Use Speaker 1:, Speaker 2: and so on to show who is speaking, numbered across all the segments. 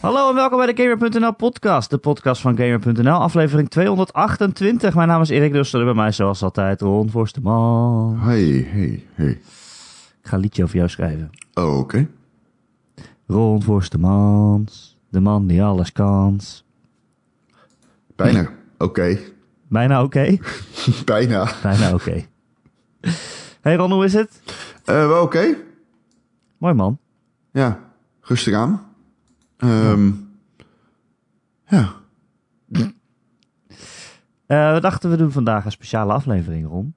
Speaker 1: Hallo en welkom bij de Gamer.nl podcast, de podcast van Gamer.nl, aflevering 228. Mijn naam is Erik Dustel en bij mij zoals altijd Ron Forsterman.
Speaker 2: Hey, hey, hey.
Speaker 1: Ik ga een liedje over jou schrijven.
Speaker 2: Oh, oké.
Speaker 1: Ron Forstemans, de man die alles kans.
Speaker 2: Bijna. Oké.
Speaker 1: Bijna oké?
Speaker 2: Bijna.
Speaker 1: Bijna oké. Hey Ron, hoe is het?
Speaker 2: Eh, wel oké.
Speaker 1: Mooi man.
Speaker 2: Ja. Rustig aan. Ehm ja.
Speaker 1: Eh, we dachten we doen vandaag een speciale aflevering, Ron.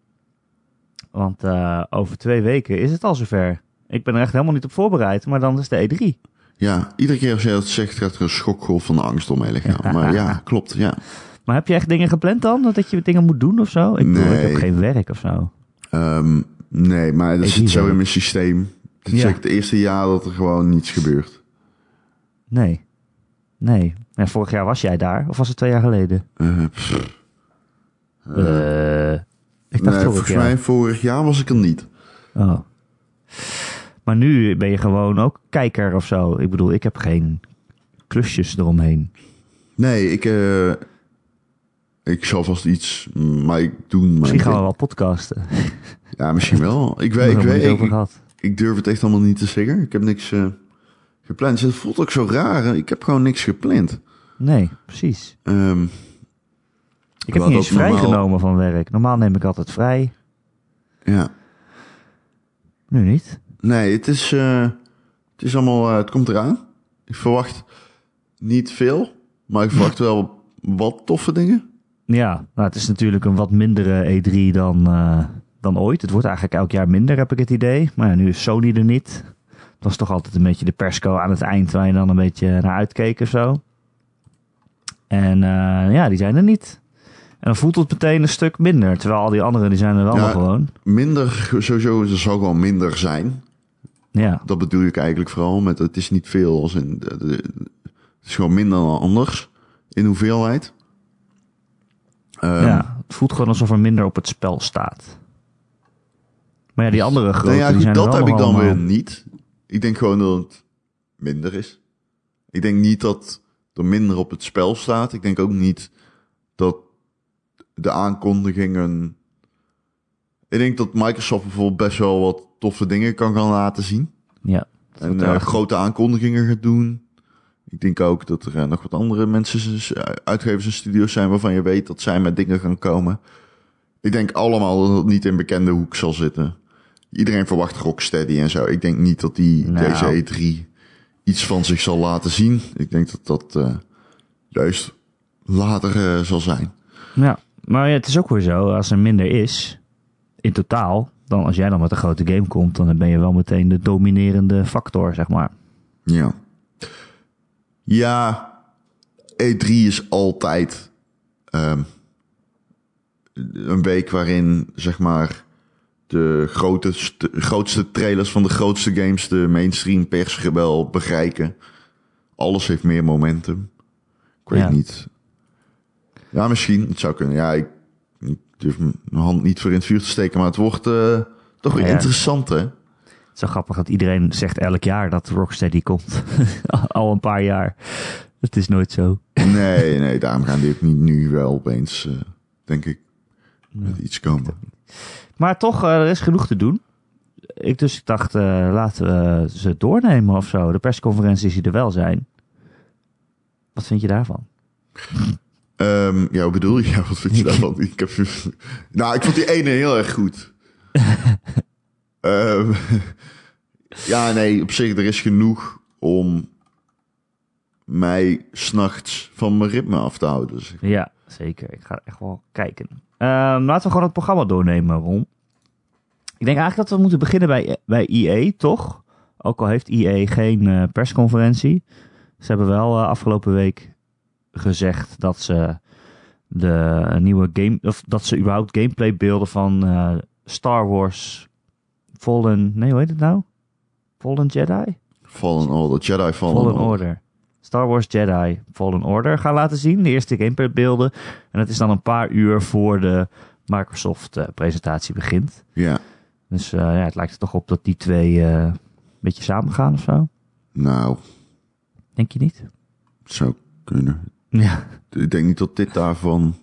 Speaker 1: Want eh, over twee weken is het al zover. Ik ben er echt helemaal niet op voorbereid, maar dan is de E E3.
Speaker 2: Ja, iedere keer als jij dat zegt, gaat er een schokgolf van de angst om mijn lichaam. Maar ja, klopt, ja.
Speaker 1: Maar heb je echt dingen gepland dan? Dat je dingen moet doen of zo? Ik, bedoel, ik
Speaker 2: Nee.
Speaker 1: heb geen werk of zo.
Speaker 2: Ehm, nee, maar dat
Speaker 1: Ik
Speaker 2: zit
Speaker 1: niet,
Speaker 2: zo
Speaker 1: hoor.
Speaker 2: in mijn systeem. Dit is
Speaker 1: Ja.
Speaker 2: echt het eerste jaar dat er gewoon niets gebeurt.
Speaker 1: Nee. Nee. Ja, vorig jaar was jij daar, of was het twee jaar geleden?
Speaker 2: Eh, pff,
Speaker 1: Eh, ik dacht
Speaker 2: nee,
Speaker 1: vorig
Speaker 2: volgens
Speaker 1: jaar.
Speaker 2: mij vorig jaar was ik er niet.
Speaker 1: Oh. Maar nu ben je gewoon ook kijker of zo. Ik bedoel, ik heb geen klusjes eromheen.
Speaker 2: Nee, ik... eh, ik zal vast iets, mm, maar ik doe... maar
Speaker 1: Misschien
Speaker 2: ik-
Speaker 1: gaan we wel podcasten.
Speaker 2: Ja, misschien wel. Ik weet,
Speaker 1: Daar
Speaker 2: ik
Speaker 1: hebben we het
Speaker 2: weet,
Speaker 1: niet over
Speaker 2: ik,
Speaker 1: gehad.
Speaker 2: ik durf het echt allemaal niet te zeggen. Ik heb niks eh, gepland. Dus Het voelt ook zo raar. hè. Ik heb gewoon niks gepland.
Speaker 1: Nee, precies.
Speaker 2: Ehm,
Speaker 1: Ik heb
Speaker 2: Wat
Speaker 1: niet eens
Speaker 2: ook normaal-
Speaker 1: vrijgenomen van werk. Normaal neem ik altijd vrij.
Speaker 2: ja.
Speaker 1: Nu niet.
Speaker 2: Nee, het is, eh, het is allemaal, eh, het komt eraan. Ik verwacht niet veel, maar ik verwacht wel wat toffe dingen.
Speaker 1: Ja, nou, het is natuurlijk een wat mindere E3 dan, eh, dan ooit. Het wordt eigenlijk elk jaar minder, heb ik het idee. Maar ja, nu is Sony er niet. Het was toch altijd een beetje de persco aan het eind waar je dan een beetje naar uitkeek of zo. En eh, ja, die zijn er niet. En dan voelt het meteen een stuk minder. Terwijl al die anderen, die zijn er wel
Speaker 2: Ja.
Speaker 1: nog gewoon.
Speaker 2: Minder, sowieso, er zal gewoon minder zijn.
Speaker 1: Ja,
Speaker 2: Dat bedoel ik eigenlijk vooral met het is niet veel. Als in, de- de- het is gewoon minder dan anders in hoeveelheid. Ehm,
Speaker 1: ja, het voelt gewoon alsof er minder op het spel staat. Maar ja, die andere grote,
Speaker 2: Nou ja,
Speaker 1: eh, die
Speaker 2: goed,
Speaker 1: zijn er
Speaker 2: dat
Speaker 1: wel
Speaker 2: heb
Speaker 1: nog
Speaker 2: ik dan
Speaker 1: allemaal.
Speaker 2: weer niet. Ik denk gewoon dat het minder is. Ik denk niet dat er minder op het spel staat. Ik denk ook niet dat de aankondigingen. Ik denk dat Microsoft bijvoorbeeld best wel wat toffe dingen kan gaan laten zien.
Speaker 1: Ja, dat
Speaker 2: En
Speaker 1: wordt wel
Speaker 2: eh,
Speaker 1: echt-
Speaker 2: grote aankondigingen gaat doen. Ik denk ook dat er eh, nog wat andere mensen, z- eh, uitgevers en studio's zijn waarvan je weet dat zij met dingen gaan komen. Ik denk allemaal dat het niet in bekende hoek zal zitten. Iedereen verwacht Rocksteady en zo. Ik denk niet dat die
Speaker 1: Nou.
Speaker 2: deze E3 iets van zich zal laten zien. Ik denk dat dat eh, juist later eh, zal zijn.
Speaker 1: Ja, maar ja, het is ook weer zo, als er minder is, in totaal, dan als jij dan met een grote game komt, dan ben je wel meteen de dominerende factor, zeg maar.
Speaker 2: Ja. Ja, E3 is altijd ehm, een week waarin, zeg maar, de grootste, grootste trailers van de grootste games de mainstream pers wel bereiken. Alles heeft meer momentum. Ik weet
Speaker 1: Ja.
Speaker 2: niet. Ja, misschien. Het zou kunnen. Ja, ik, ik durf mijn hand niet voor in het vuur te steken, maar het wordt eh, toch weer
Speaker 1: Ja.
Speaker 2: interessant, hè?
Speaker 1: Het is zo grappig dat iedereen zegt elk jaar dat Rocksteady komt. Al een paar jaar. Het is nooit zo.
Speaker 2: Nee, nee, daarom gaan die ook niet nu wel opeens, eh, denk ik, met iets komen.
Speaker 1: Maar toch, eh, er is genoeg te doen. Ik, dus ik dacht, eh, laten we ze doornemen of zo. De persconferenties die er wel zijn. Wat vind je daarvan?
Speaker 2: Ehm, ja, wat bedoel je? Ja, wat vind je daarvan? Ik heb, nou, ik vond die ene heel erg goed. Ehm, ja, nee, op zich, er is genoeg om mij s'nachts van mijn ritme af te houden. Dus
Speaker 1: Ja, zeker. Ik ga echt wel kijken. Ehm, laten we gewoon het programma doornemen, Ron. Ik denk eigenlijk dat we moeten beginnen bij, bij IE, toch? Ook al heeft IE geen eh, persconferentie. Ze hebben wel eh, afgelopen week gezegd dat ze de nieuwe game. of dat ze überhaupt gameplaybeelden van eh, Star Wars Fallen. Nee, hoe heet het nou? Fallen Jedi?
Speaker 2: Fallen Order, Jedi Fallen,
Speaker 1: Fallen
Speaker 2: Order.
Speaker 1: Order. Star Wars Jedi Fallen Order gaan laten zien. De eerste gameplaybeelden. En dat is dan een paar uur voor de Microsoft-presentatie begint.
Speaker 2: Ja,
Speaker 1: Dus eh, ja, het lijkt er toch op dat die twee eh, een beetje samen gaan of zo.
Speaker 2: nou,
Speaker 1: Denk je niet?
Speaker 2: zou kunnen.
Speaker 1: Ja.
Speaker 2: Ik denk niet dat dit daarvan.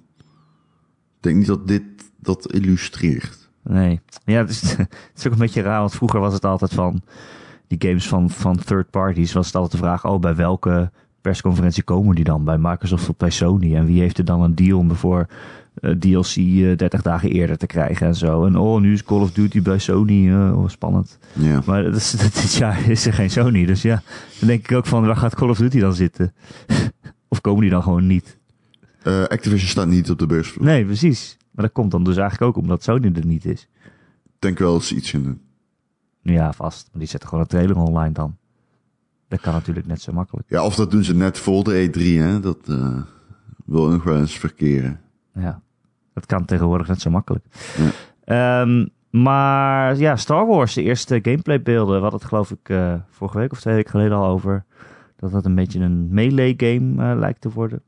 Speaker 2: Ik denk niet dat dit dat illustreert.
Speaker 1: Nee. Ja, het is, het is ook een beetje raar, want vroeger was het altijd van... Die games van, van third parties was het altijd de vraag... Oh, bij welke persconferentie komen die dan? Bij Microsoft of bij Sony? En wie heeft er dan een deal om ervoor eh, DLC eh, 30 dagen eerder te krijgen en zo? En oh, nu is Call of Duty bij Sony. eh, oh, spannend.
Speaker 2: Ja.
Speaker 1: Maar dat is, dat, dit jaar is er geen Sony. Dus ja, dan denk ik ook van... Waar gaat Call of Duty dan zitten? of komen die dan gewoon niet?
Speaker 2: Eh, Activision staat niet op de beurs. Ik
Speaker 1: Nee, precies. Maar dat komt dan dus eigenlijk ook omdat Sony er niet is.
Speaker 2: denk wel eens iets in de.
Speaker 1: Ja, vast. Maar die zetten gewoon een trailer online dan. Dat kan natuurlijk net zo makkelijk.
Speaker 2: Ja, of dat doen ze net voor de E3, hè? Dat eh, wil nog wel eens verkeren.
Speaker 1: Ja, dat kan tegenwoordig net zo makkelijk. Ehm, maar ja, Star Wars, de eerste gameplaybeelden. We hadden het geloof ik eh, vorige week of twee weken geleden al over. Dat dat een beetje een melee game eh, lijkt te worden.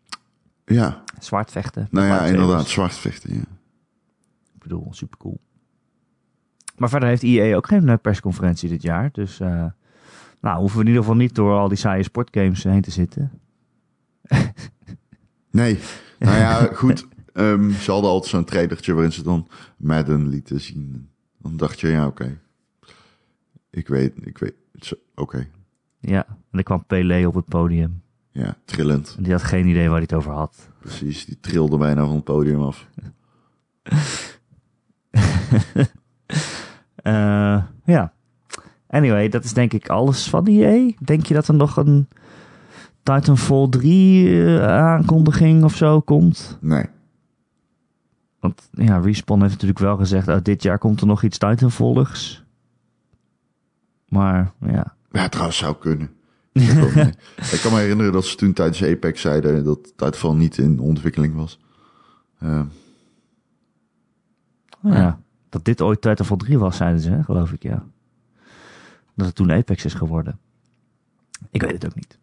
Speaker 2: Ja,
Speaker 1: Zwaard vechten.
Speaker 2: nou ja,
Speaker 1: Lightsabers.
Speaker 2: inderdaad, zwart vechten. Ja.
Speaker 1: Ik bedoel, super cool. Maar verder heeft EA ook geen eh, persconferentie dit jaar. Dus eh, nou, hoeven we in ieder geval niet door al die saaie sportgames heen te zitten.
Speaker 2: Nee, nou ja, goed. ehm, ze hadden altijd zo'n trailertje waarin ze dan Madden lieten zien. Dan dacht je, ja, oké. Ik weet, ik weet, zo- oké.
Speaker 1: Ja, en er kwam Pelé op het podium.
Speaker 2: Ja, trillend.
Speaker 1: En die had geen idee waar hij het over had.
Speaker 2: Precies, die trilde bijna van het podium af.
Speaker 1: Eh, ja. Anyway, dat is denk ik alles van EA. Denk je dat er nog een Titanfall 3 eh, aankondiging of zo komt?
Speaker 2: Nee,
Speaker 1: Want ja, Respawn heeft natuurlijk wel gezegd... Oh, dit jaar komt er nog iets Titanfalligs. Maar ja.
Speaker 2: ja, trouwens zou kunnen. Ik heb ook niet- ik kan me herinneren dat ze toen tijdens Apex zeiden dat Titanfall niet in ontwikkeling was. Ehm,
Speaker 1: ja. Dat dit ooit Titanfall 3 was, zeiden ze, hè, geloof ik, ja. Dat het toen Apex is geworden. Ik weet het ook niet.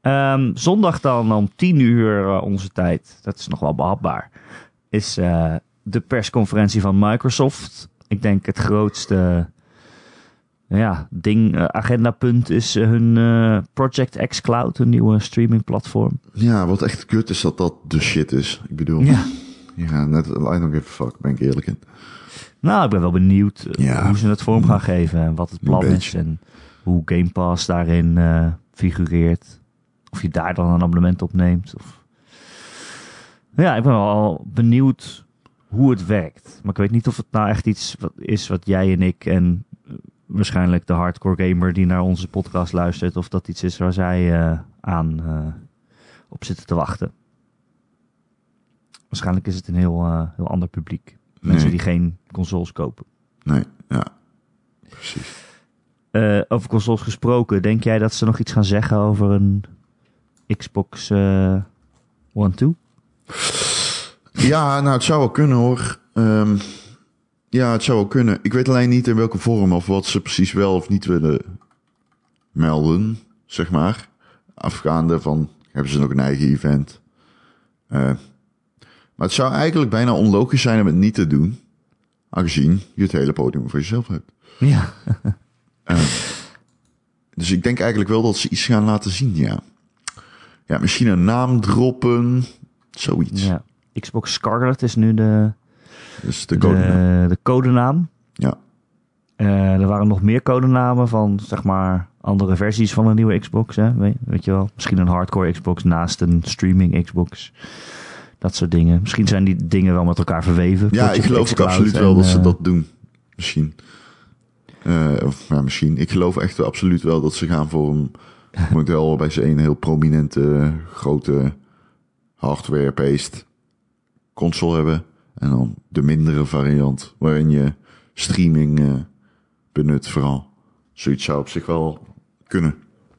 Speaker 1: Ehm, zondag dan om 10 uur eh, onze tijd, dat is nog wel behapbaar, is eh, de persconferentie van Microsoft. Ik denk het grootste nou ja, ding, eh, agendapunt is eh, hun eh, Project X Cloud, een nieuwe streamingplatform.
Speaker 2: ja, wat echt kut is dat dat de shit is. Ik bedoel, ja, net, I don't give a fuck, ben ik eerlijk in.
Speaker 1: Nou, ik ben wel benieuwd eh,
Speaker 2: Ja.
Speaker 1: hoe ze het vorm gaan geven en wat het
Speaker 2: Een
Speaker 1: plan is
Speaker 2: beetje.
Speaker 1: en hoe Game Pass daarin eh, figureert. Of je daar dan een abonnement op neemt. Of... Ja, ik ben wel benieuwd hoe het werkt. Maar ik weet niet of het nou echt iets wat is wat jij en ik en eh, waarschijnlijk de hardcore gamer die naar onze podcast luistert, of dat iets is waar zij eh, aan eh, op zitten te wachten. Waarschijnlijk is het een heel, eh, heel ander publiek. Mensen
Speaker 2: Nee.
Speaker 1: die geen consoles kopen.
Speaker 2: Nee, ja, precies.
Speaker 1: Eh, over consoles gesproken, denk jij dat ze nog iets gaan zeggen over een Xbox eh, One 2?
Speaker 2: Ja, nou, het zou wel kunnen hoor. Ehm, ja, het zou wel kunnen. Ik weet alleen niet in welke vorm of wat ze precies wel of niet willen melden, zeg maar. Afgaande van, hebben ze nog een eigen event? Eh, maar het zou eigenlijk bijna onlogisch zijn om het niet te doen. Aangezien je het hele podium voor jezelf hebt. Ehm,
Speaker 1: Ja.
Speaker 2: Dus ik denk eigenlijk wel dat ze iets gaan laten zien, ja. Ja, misschien een naam droppen. Zoiets.
Speaker 1: ja. Xbox Scarlet is nu de,
Speaker 2: Dus de code.
Speaker 1: de, de codenaam.
Speaker 2: Ja.
Speaker 1: Eh, er waren nog meer codenamen van, zeg maar, andere versies van een nieuwe Xbox. Hè? Weet, weet je wel? Misschien een hardcore Xbox naast een streaming Xbox. Dat soort dingen. Misschien zijn die dingen wel met elkaar verweven.
Speaker 2: Ja,
Speaker 1: Project
Speaker 2: ik geloof ook
Speaker 1: xCloud
Speaker 2: absoluut
Speaker 1: en,
Speaker 2: wel dat ze
Speaker 1: eh,
Speaker 2: dat doen. Misschien. Eh, of ja, misschien. Ik geloof echt wel absoluut wel dat ze gaan voor een model waarbij ze een heel prominente, grote hardware-based console hebben. En dan de mindere variant waarin je streaming eh, benut vooral. Zoiets zou op zich wel kunnen.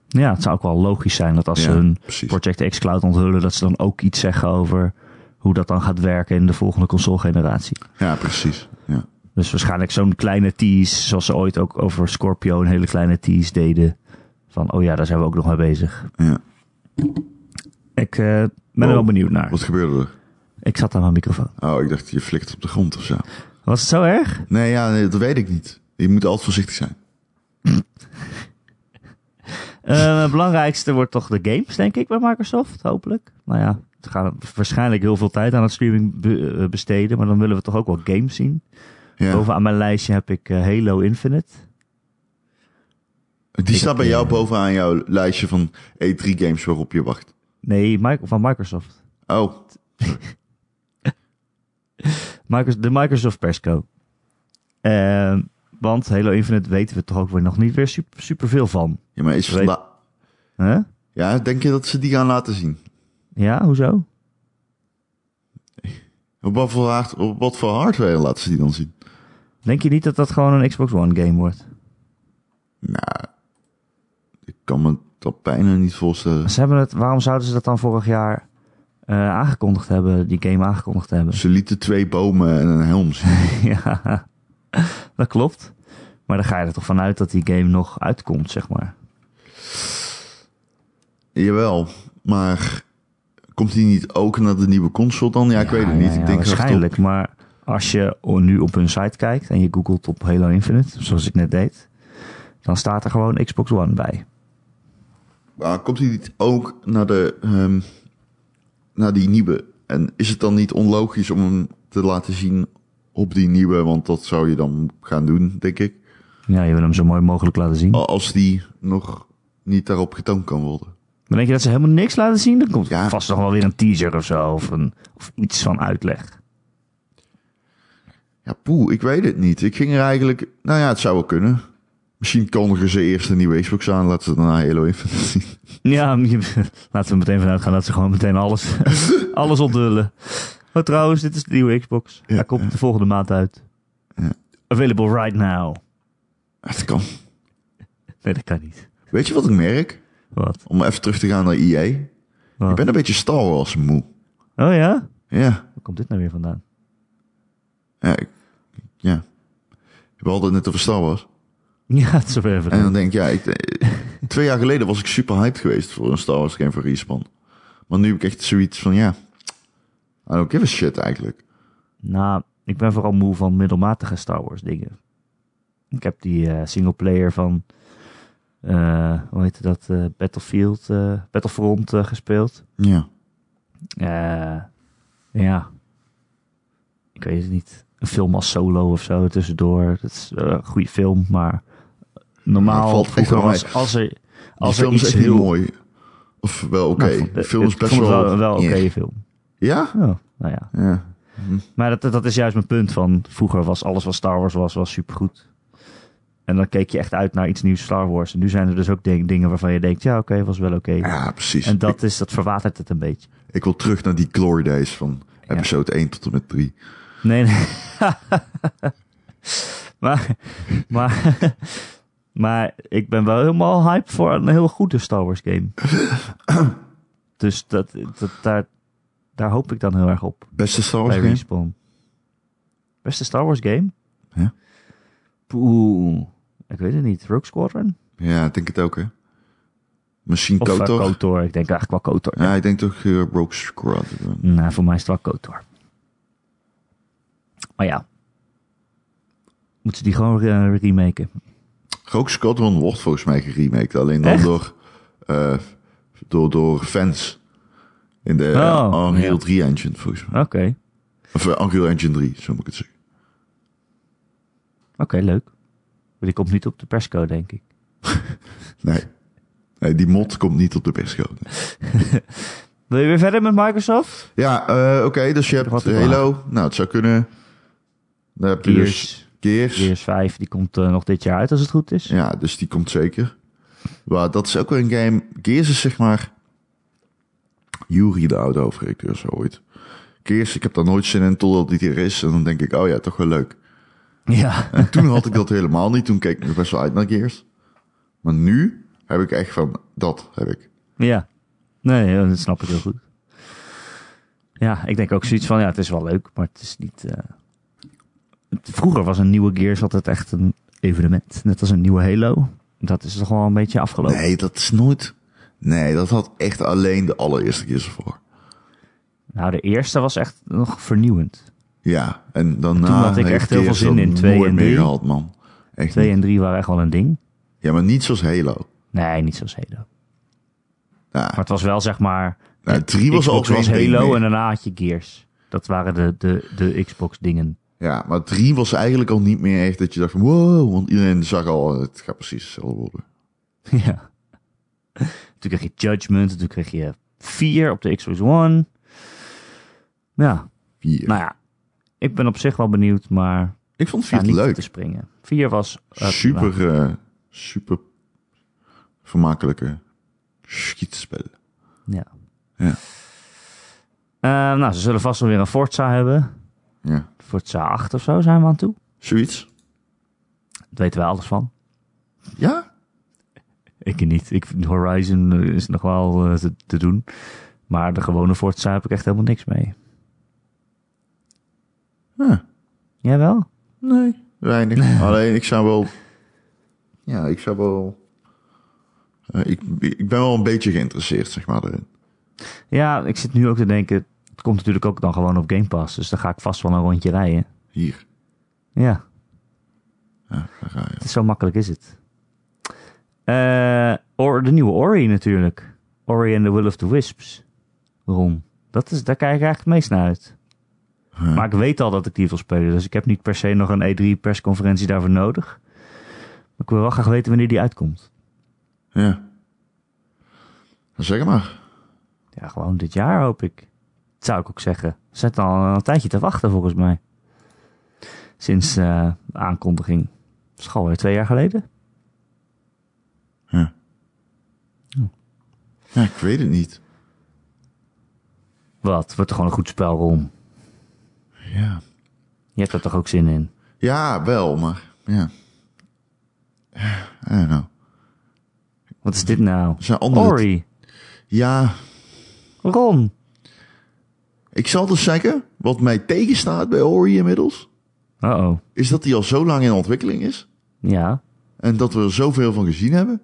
Speaker 1: Ja, het zou ook wel logisch zijn dat als
Speaker 2: Ja,
Speaker 1: ze hun
Speaker 2: precies.
Speaker 1: Project X Cloud onthullen, dat ze dan ook iets zeggen over hoe dat dan gaat werken in de volgende console-generatie.
Speaker 2: Ja, precies. Ja.
Speaker 1: Dus waarschijnlijk zo'n kleine tease, zoals ze ooit ook over Scorpio een hele kleine tease deden. Van, oh ja, daar zijn we ook nog mee bezig.
Speaker 2: Ja.
Speaker 1: Ik eh, ben er wel
Speaker 2: Wow.
Speaker 1: benieuwd naar.
Speaker 2: Wat gebeurde er?
Speaker 1: Ik zat aan mijn microfoon.
Speaker 2: Oh, ik dacht je flikt op de grond of zo.
Speaker 1: Was het zo erg?
Speaker 2: Nee, ja, nee, dat weet ik niet. Je moet altijd voorzichtig zijn.
Speaker 1: Eh, het belangrijkste wordt toch de games, denk ik, bij Microsoft, hopelijk. Nou ja, ze gaan waarschijnlijk heel veel tijd aan het streaming be- eh, besteden, maar dan willen we toch ook wel games zien.
Speaker 2: Ja.
Speaker 1: Bovenaan mijn lijstje heb ik eh, Halo Infinite.
Speaker 2: Die staat bij
Speaker 1: eh,
Speaker 2: jou bovenaan jouw lijstje van E3-games waarop je wacht.
Speaker 1: Nee, Mi- van Microsoft.
Speaker 2: Oh,
Speaker 1: Microsoft de Microsoft Persco. Ehm, want Halo Infinite weten we toch ook weer nog niet weer super, superveel van.
Speaker 2: ja, maar is
Speaker 1: Weet-
Speaker 2: la-
Speaker 1: hè?
Speaker 2: ja, denk je dat ze die gaan laten zien?
Speaker 1: Ja, hoezo?
Speaker 2: Op wat voor, hard- op wat voor hardware laten ze die dan zien?
Speaker 1: Denk je niet dat dat gewoon een Xbox One game wordt?
Speaker 2: Nou, ik kan me dat bijna niet voorstellen.
Speaker 1: Ze hebben het, waarom zouden ze dat dan vorig jaar eh, aangekondigd hebben, die game aangekondigd hebben?
Speaker 2: Ze lieten twee bomen en een helm zien.
Speaker 1: ja, dat klopt. Maar dan ga je er toch vanuit dat die game nog uitkomt, zeg maar.
Speaker 2: Jawel, maar komt die niet ook naar de nieuwe console dan? Ja, ik weet het niet.
Speaker 1: ja,
Speaker 2: ik denk
Speaker 1: waarschijnlijk, maar als je nu op hun site kijkt en je googelt op Halo Infinite, zoals ik net deed, dan staat er gewoon Xbox One bij.
Speaker 2: Maar komt die niet ook naar, de, ehm, naar die nieuwe? En is het dan niet onlogisch om hem te laten zien op die nieuwe? Want dat zou je dan gaan doen, denk ik.
Speaker 1: Ja, je wil hem zo mooi mogelijk laten zien.
Speaker 2: Al- Als die nog niet daarop getoond kan worden.
Speaker 1: Maar denk je dat ze helemaal niks laten zien? Dan komt
Speaker 2: Ja.
Speaker 1: vast nog wel weer een teaser of zo, of, een, of iets van uitleg.
Speaker 2: Ja, poeh, ik weet het niet. Ik ging er eigenlijk... Nou ja, het zou wel kunnen. Misschien kondigen ze eerst een nieuwe Xbox aan. Laten ze daarna Halo Infinite zien.
Speaker 1: Ja, je- laten we meteen vanuit gaan dat ze gewoon meteen alles, alles onthullen. Maar trouwens, dit is de nieuwe Xbox.
Speaker 2: Ja,
Speaker 1: Hij komt de volgende maand uit.
Speaker 2: Ja.
Speaker 1: Available right now.
Speaker 2: Het kan.
Speaker 1: Nee, dat kan niet.
Speaker 2: Weet je wat ik merk?
Speaker 1: Wat?
Speaker 2: Om even terug te gaan naar EA.
Speaker 1: Wat?
Speaker 2: Ik ben een beetje Star Wars moe.
Speaker 1: Oh ja?
Speaker 2: Ja,
Speaker 1: Waar komt dit nou weer vandaan?
Speaker 2: ja, ik- ja. We hadden het net over Star Wars.
Speaker 1: Ja, het is weer even.
Speaker 2: En dan denk ik, ja, ik, eh, twee jaar geleden was ik super hyped geweest voor een Star Wars game van Respawn. Maar nu heb ik echt zoiets van, ja, I don't give a shit eigenlijk.
Speaker 1: Nou, ik ben vooral moe van middelmatige Star Wars dingen. Ik heb die eh singleplayer van, eh, hoe heet dat, eh, Battlefield, eh, Battlefront eh, gespeeld.
Speaker 2: Ja,
Speaker 1: Eh, ja, ik weet het niet. Een film als solo of zo tussendoor. Dat is eh, een goede film, maar normaal
Speaker 2: Ja, Nou, valt echt
Speaker 1: vroeger
Speaker 2: wel
Speaker 1: was als er, als
Speaker 2: die
Speaker 1: er
Speaker 2: film is
Speaker 1: iets
Speaker 2: echt
Speaker 1: heel...
Speaker 2: heel mooi. Of wel oké,
Speaker 1: Nou, ik vond-
Speaker 2: de film is
Speaker 1: ik
Speaker 2: best
Speaker 1: vond
Speaker 2: wel...
Speaker 1: het wel, wel oké
Speaker 2: Ja?
Speaker 1: film.
Speaker 2: Ja?
Speaker 1: Oh, nou ja.
Speaker 2: Ja.
Speaker 1: Maar dat, dat is juist mijn punt van vroeger was alles wat Star Wars was, was supergoed. En dan keek je echt uit naar iets nieuws Star Wars. En nu zijn er dus ook ding- dingen waarvan je denkt, ja oké, was wel oké.
Speaker 2: Ja, precies.
Speaker 1: En dat, is, dat verwatert het een beetje.
Speaker 2: ik, ik wil terug naar die glory days van
Speaker 1: Ja.
Speaker 2: episode 1 tot en met 3.
Speaker 1: Nee, nee. maar, maar, maar ik ben wel helemaal hype voor een heel goede Star Wars game. dus dat, dat, daar, daar hoop ik dan heel erg op.
Speaker 2: Beste Star Wars
Speaker 1: Bij
Speaker 2: game?
Speaker 1: Respawn. Beste Star Wars game?
Speaker 2: Ja.
Speaker 1: Poeh. Ik weet het niet. Rogue Squadron?
Speaker 2: Ja, ik denk het ook, hè. Misschien
Speaker 1: Of eh,
Speaker 2: Kotor.
Speaker 1: KOTOR. Ik denk eigenlijk wel KOTOR.
Speaker 2: ja, ik denk toch eh, Rogue Squadron.
Speaker 1: Nou, voor mij is het wel KOTOR. Maar ja. Moeten ze die gewoon eh, remaken?
Speaker 2: Rogue Squadron wordt volgens mij geremaked. Alleen dan
Speaker 1: Echt?
Speaker 2: door, eh, door, door fans. In de
Speaker 1: Oh,
Speaker 2: eh, Unreal
Speaker 1: ja.
Speaker 2: 3 engine, volgens mij.
Speaker 1: Oké.
Speaker 2: Of eh, Unreal Engine 3, zo moet ik het zeggen.
Speaker 1: Oké, leuk. Maar die komt niet op de persco, denk ik.
Speaker 2: Nee. nee die mod komt niet op de persco. Nee.
Speaker 1: Wil je weer verder met Microsoft?
Speaker 2: Ja, eh, oké, dus je
Speaker 1: Nog wat
Speaker 2: hebt
Speaker 1: te vragen?
Speaker 2: Halo. Nou, het zou kunnen. Dan heb je dus
Speaker 1: Gears.
Speaker 2: Gears.
Speaker 1: Gears 5, die komt eh, nog dit jaar uit als het goed is.
Speaker 2: Ja, dus die komt zeker. Maar dat is ook weer een game. Gears is zeg maar. Jury de oude hoofdredacteur zo ooit. Gears, ik heb daar nooit zin in totdat die er is. En dan denk ik, oh ja, toch wel leuk.
Speaker 1: Ja.
Speaker 2: En toen had ik dat helemaal niet. Toen keek ik nog best wel uit naar Gears. Maar nu heb ik echt van, dat heb ik.
Speaker 1: Ja. Nee, ja, dat snap ik heel goed. Ja, ik denk ook zoiets van, ja, het is wel leuk, maar het is niet... eh, het- Vroeger was een nieuwe Gears altijd echt een evenement. Net als een nieuwe Halo. Dat is toch wel een beetje afgelopen.
Speaker 2: Nee, dat is nooit... Nee, dat had echt alleen de allereerste Gears ervoor.
Speaker 1: Nou, de eerste was echt nog vernieuwend.
Speaker 2: Ja, en daarna
Speaker 1: Toen had ik
Speaker 2: heeft
Speaker 1: echt heel veel
Speaker 2: Gears
Speaker 1: zin
Speaker 2: dat
Speaker 1: in twee
Speaker 2: nooit
Speaker 1: en
Speaker 2: meer
Speaker 1: drie.
Speaker 2: gehad, man. Echt
Speaker 1: Twee
Speaker 2: niet.
Speaker 1: en drie waren echt wel een ding.
Speaker 2: Ja, maar niet zoals Halo.
Speaker 1: Nee, niet zoals Halo.
Speaker 2: Nou,
Speaker 1: Maar het was wel zeg maar...
Speaker 2: nou, drie was ook
Speaker 1: Xbox
Speaker 2: zo'n
Speaker 1: was
Speaker 2: ding
Speaker 1: Halo
Speaker 2: meer.
Speaker 1: en daarna had je Gears. Dat waren de, de, de Xbox dingen.
Speaker 2: Ja, maar drie was eigenlijk al niet meer echt dat je dacht van wow, want iedereen zag al, het gaat precies hetzelfde worden.
Speaker 1: ja. Toen kreeg je Judgment. Toen kreeg je 4 op de Xbox One. Ja,
Speaker 2: Vier.
Speaker 1: nou ja. Ik ben op zich wel benieuwd, maar...
Speaker 2: ik vond
Speaker 1: ja,
Speaker 2: vier
Speaker 1: niet
Speaker 2: leuk.
Speaker 1: te springen. 4 was... eh, prima.
Speaker 2: super, eh, super vermakelijke schietspel.
Speaker 1: Ja.
Speaker 2: Ja.
Speaker 1: Eh, nou, ze zullen vast wel weer een Forza hebben.
Speaker 2: Ja,
Speaker 1: Forza 8 of zo zijn we aan toe.
Speaker 2: zoiets.
Speaker 1: Daar weten we alles van.
Speaker 2: Ja,
Speaker 1: Ik niet. Ik vind Horizon eh, is nog wel eh, te, te doen. Maar de gewone Forza heb ik echt helemaal niks mee.
Speaker 2: Huh.
Speaker 1: Jij wel?
Speaker 2: nee, weinig. Alleen ik zou wel, ja, ik zou wel, eh, ik, ik ben wel een beetje geïnteresseerd, zeg maar, erin.
Speaker 1: Ja, ik zit nu ook te denken... Het komt natuurlijk ook dan gewoon op Game Pass. Dus dan ga ik vast wel een rondje rijden.
Speaker 2: Hier,
Speaker 1: Ja,
Speaker 2: ja, daar ga je.
Speaker 1: het is zo makkelijk is het. Eh, or, de nieuwe Ori natuurlijk. Ori and the Will of the Wisps. Waarom? Dat is, daar kijk ik eigenlijk het meest naar uit.
Speaker 2: Huh.
Speaker 1: Maar ik weet al dat ik die wil spelen. Dus ik heb niet per se nog een E3-persconferentie daarvoor nodig. Maar ik wil wel graag weten wanneer die uitkomt.
Speaker 2: Ja. Zeg het maar.
Speaker 1: Ja, gewoon dit jaar hoop ik. Dat zou ik ook zeggen. Ze zitten al een tijdje te wachten volgens mij. Sinds eh, de aankondiging. Dat is gewoon weer twee jaar geleden.
Speaker 2: Ja. ja, ik weet het niet.
Speaker 1: Wat? Wordt er gewoon een goed spel om.
Speaker 2: Ja,
Speaker 1: Je hebt er toch ook zin in?
Speaker 2: ja wel, maar ja. I don't know.
Speaker 1: Wat is dit nou?
Speaker 2: Er zijn andere...
Speaker 1: Ori.
Speaker 2: Ja,
Speaker 1: Ron.
Speaker 2: ik zal dus zeggen, wat mij tegenstaat bij Ori inmiddels,
Speaker 1: Uh-oh.
Speaker 2: is dat die al zo lang in ontwikkeling is.
Speaker 1: Ja.
Speaker 2: En dat we er zoveel van gezien hebben,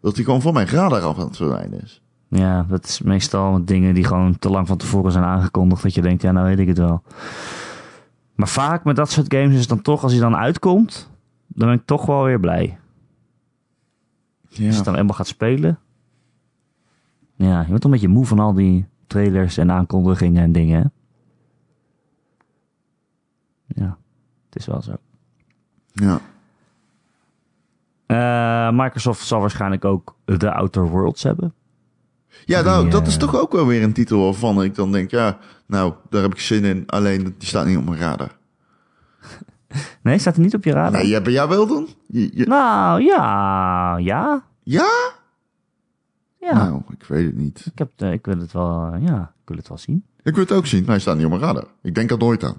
Speaker 2: dat die gewoon van mijn radar af aan het verdwijnen is.
Speaker 1: Ja, dat is meestal met dingen die gewoon te lang van tevoren zijn aangekondigd. Dat je denkt, ja, nou weet ik het wel. Maar vaak met dat soort games is het dan toch, als hij dan uitkomt, dan ben ik toch wel weer blij. Als je
Speaker 2: Ja,
Speaker 1: het dan helemaal gaat spelen. Ja, je wordt een beetje moe van al die trailers en aankondigingen en dingen. hè? Ja, het is wel zo.
Speaker 2: ja.
Speaker 1: Eh, Microsoft zal waarschijnlijk ook de Outer Worlds hebben.
Speaker 2: ja nou,
Speaker 1: Die,
Speaker 2: dat is
Speaker 1: eh,
Speaker 2: toch ook wel weer een titel waarvan ik dan denk, ja, nou, daar heb ik zin in. Alleen, die staat niet op mijn radar.
Speaker 1: Nee, staat er niet op je radar?
Speaker 2: Nee, ja, bij jou wel dan? Je- je-
Speaker 1: Nou, ja, ja,
Speaker 2: ja?
Speaker 1: ja.
Speaker 2: Nou, ik weet het niet.
Speaker 1: Ik, heb, eh, ik wil het wel, eh, ja, ik wil het wel zien.
Speaker 2: Ik wil het ook zien, maar hij staat niet op mijn radar. Ik denk er nooit aan.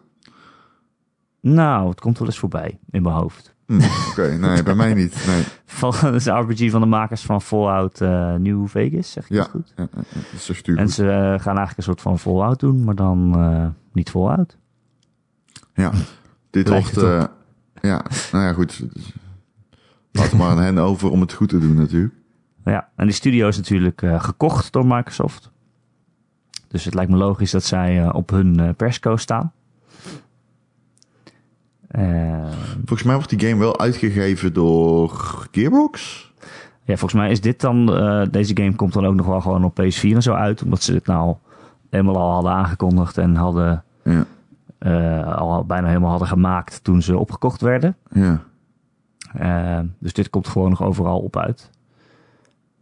Speaker 1: Nou, het komt wel eens voorbij in mijn hoofd.
Speaker 2: Hm, Oké, nee, bij mij niet. Nee.
Speaker 1: Van, dat is een RPG van de makers van Fallout eh, New Vegas, zeg ik
Speaker 2: Ja,
Speaker 1: dat goed?
Speaker 2: ja, ja, ja, dat is echt duur.
Speaker 1: En ze eh, gaan eigenlijk een soort van Fallout doen, maar dan eh, niet Fallout.
Speaker 2: Ja, dit
Speaker 1: Lijkt
Speaker 2: wordt...
Speaker 1: het
Speaker 2: eh, ja, nou ja, goed. Laat maar aan hen over om het goed te doen natuurlijk.
Speaker 1: Ja, en die studio is natuurlijk eh, gekocht door Microsoft. Dus het lijkt me logisch dat zij eh, op hun eh, persco staan. Eh,
Speaker 2: Volgens mij wordt die game wel uitgegeven door Gearbox.
Speaker 1: Ja, volgens mij is dit dan. eh, deze game komt dan ook nog wel gewoon op PS4 en zo uit. Omdat ze dit nou helemaal al hadden aangekondigd en hadden.
Speaker 2: Ja,
Speaker 1: eh, al bijna helemaal hadden gemaakt toen ze opgekocht werden.
Speaker 2: ja.
Speaker 1: Eh, dus dit komt gewoon nog overal op uit.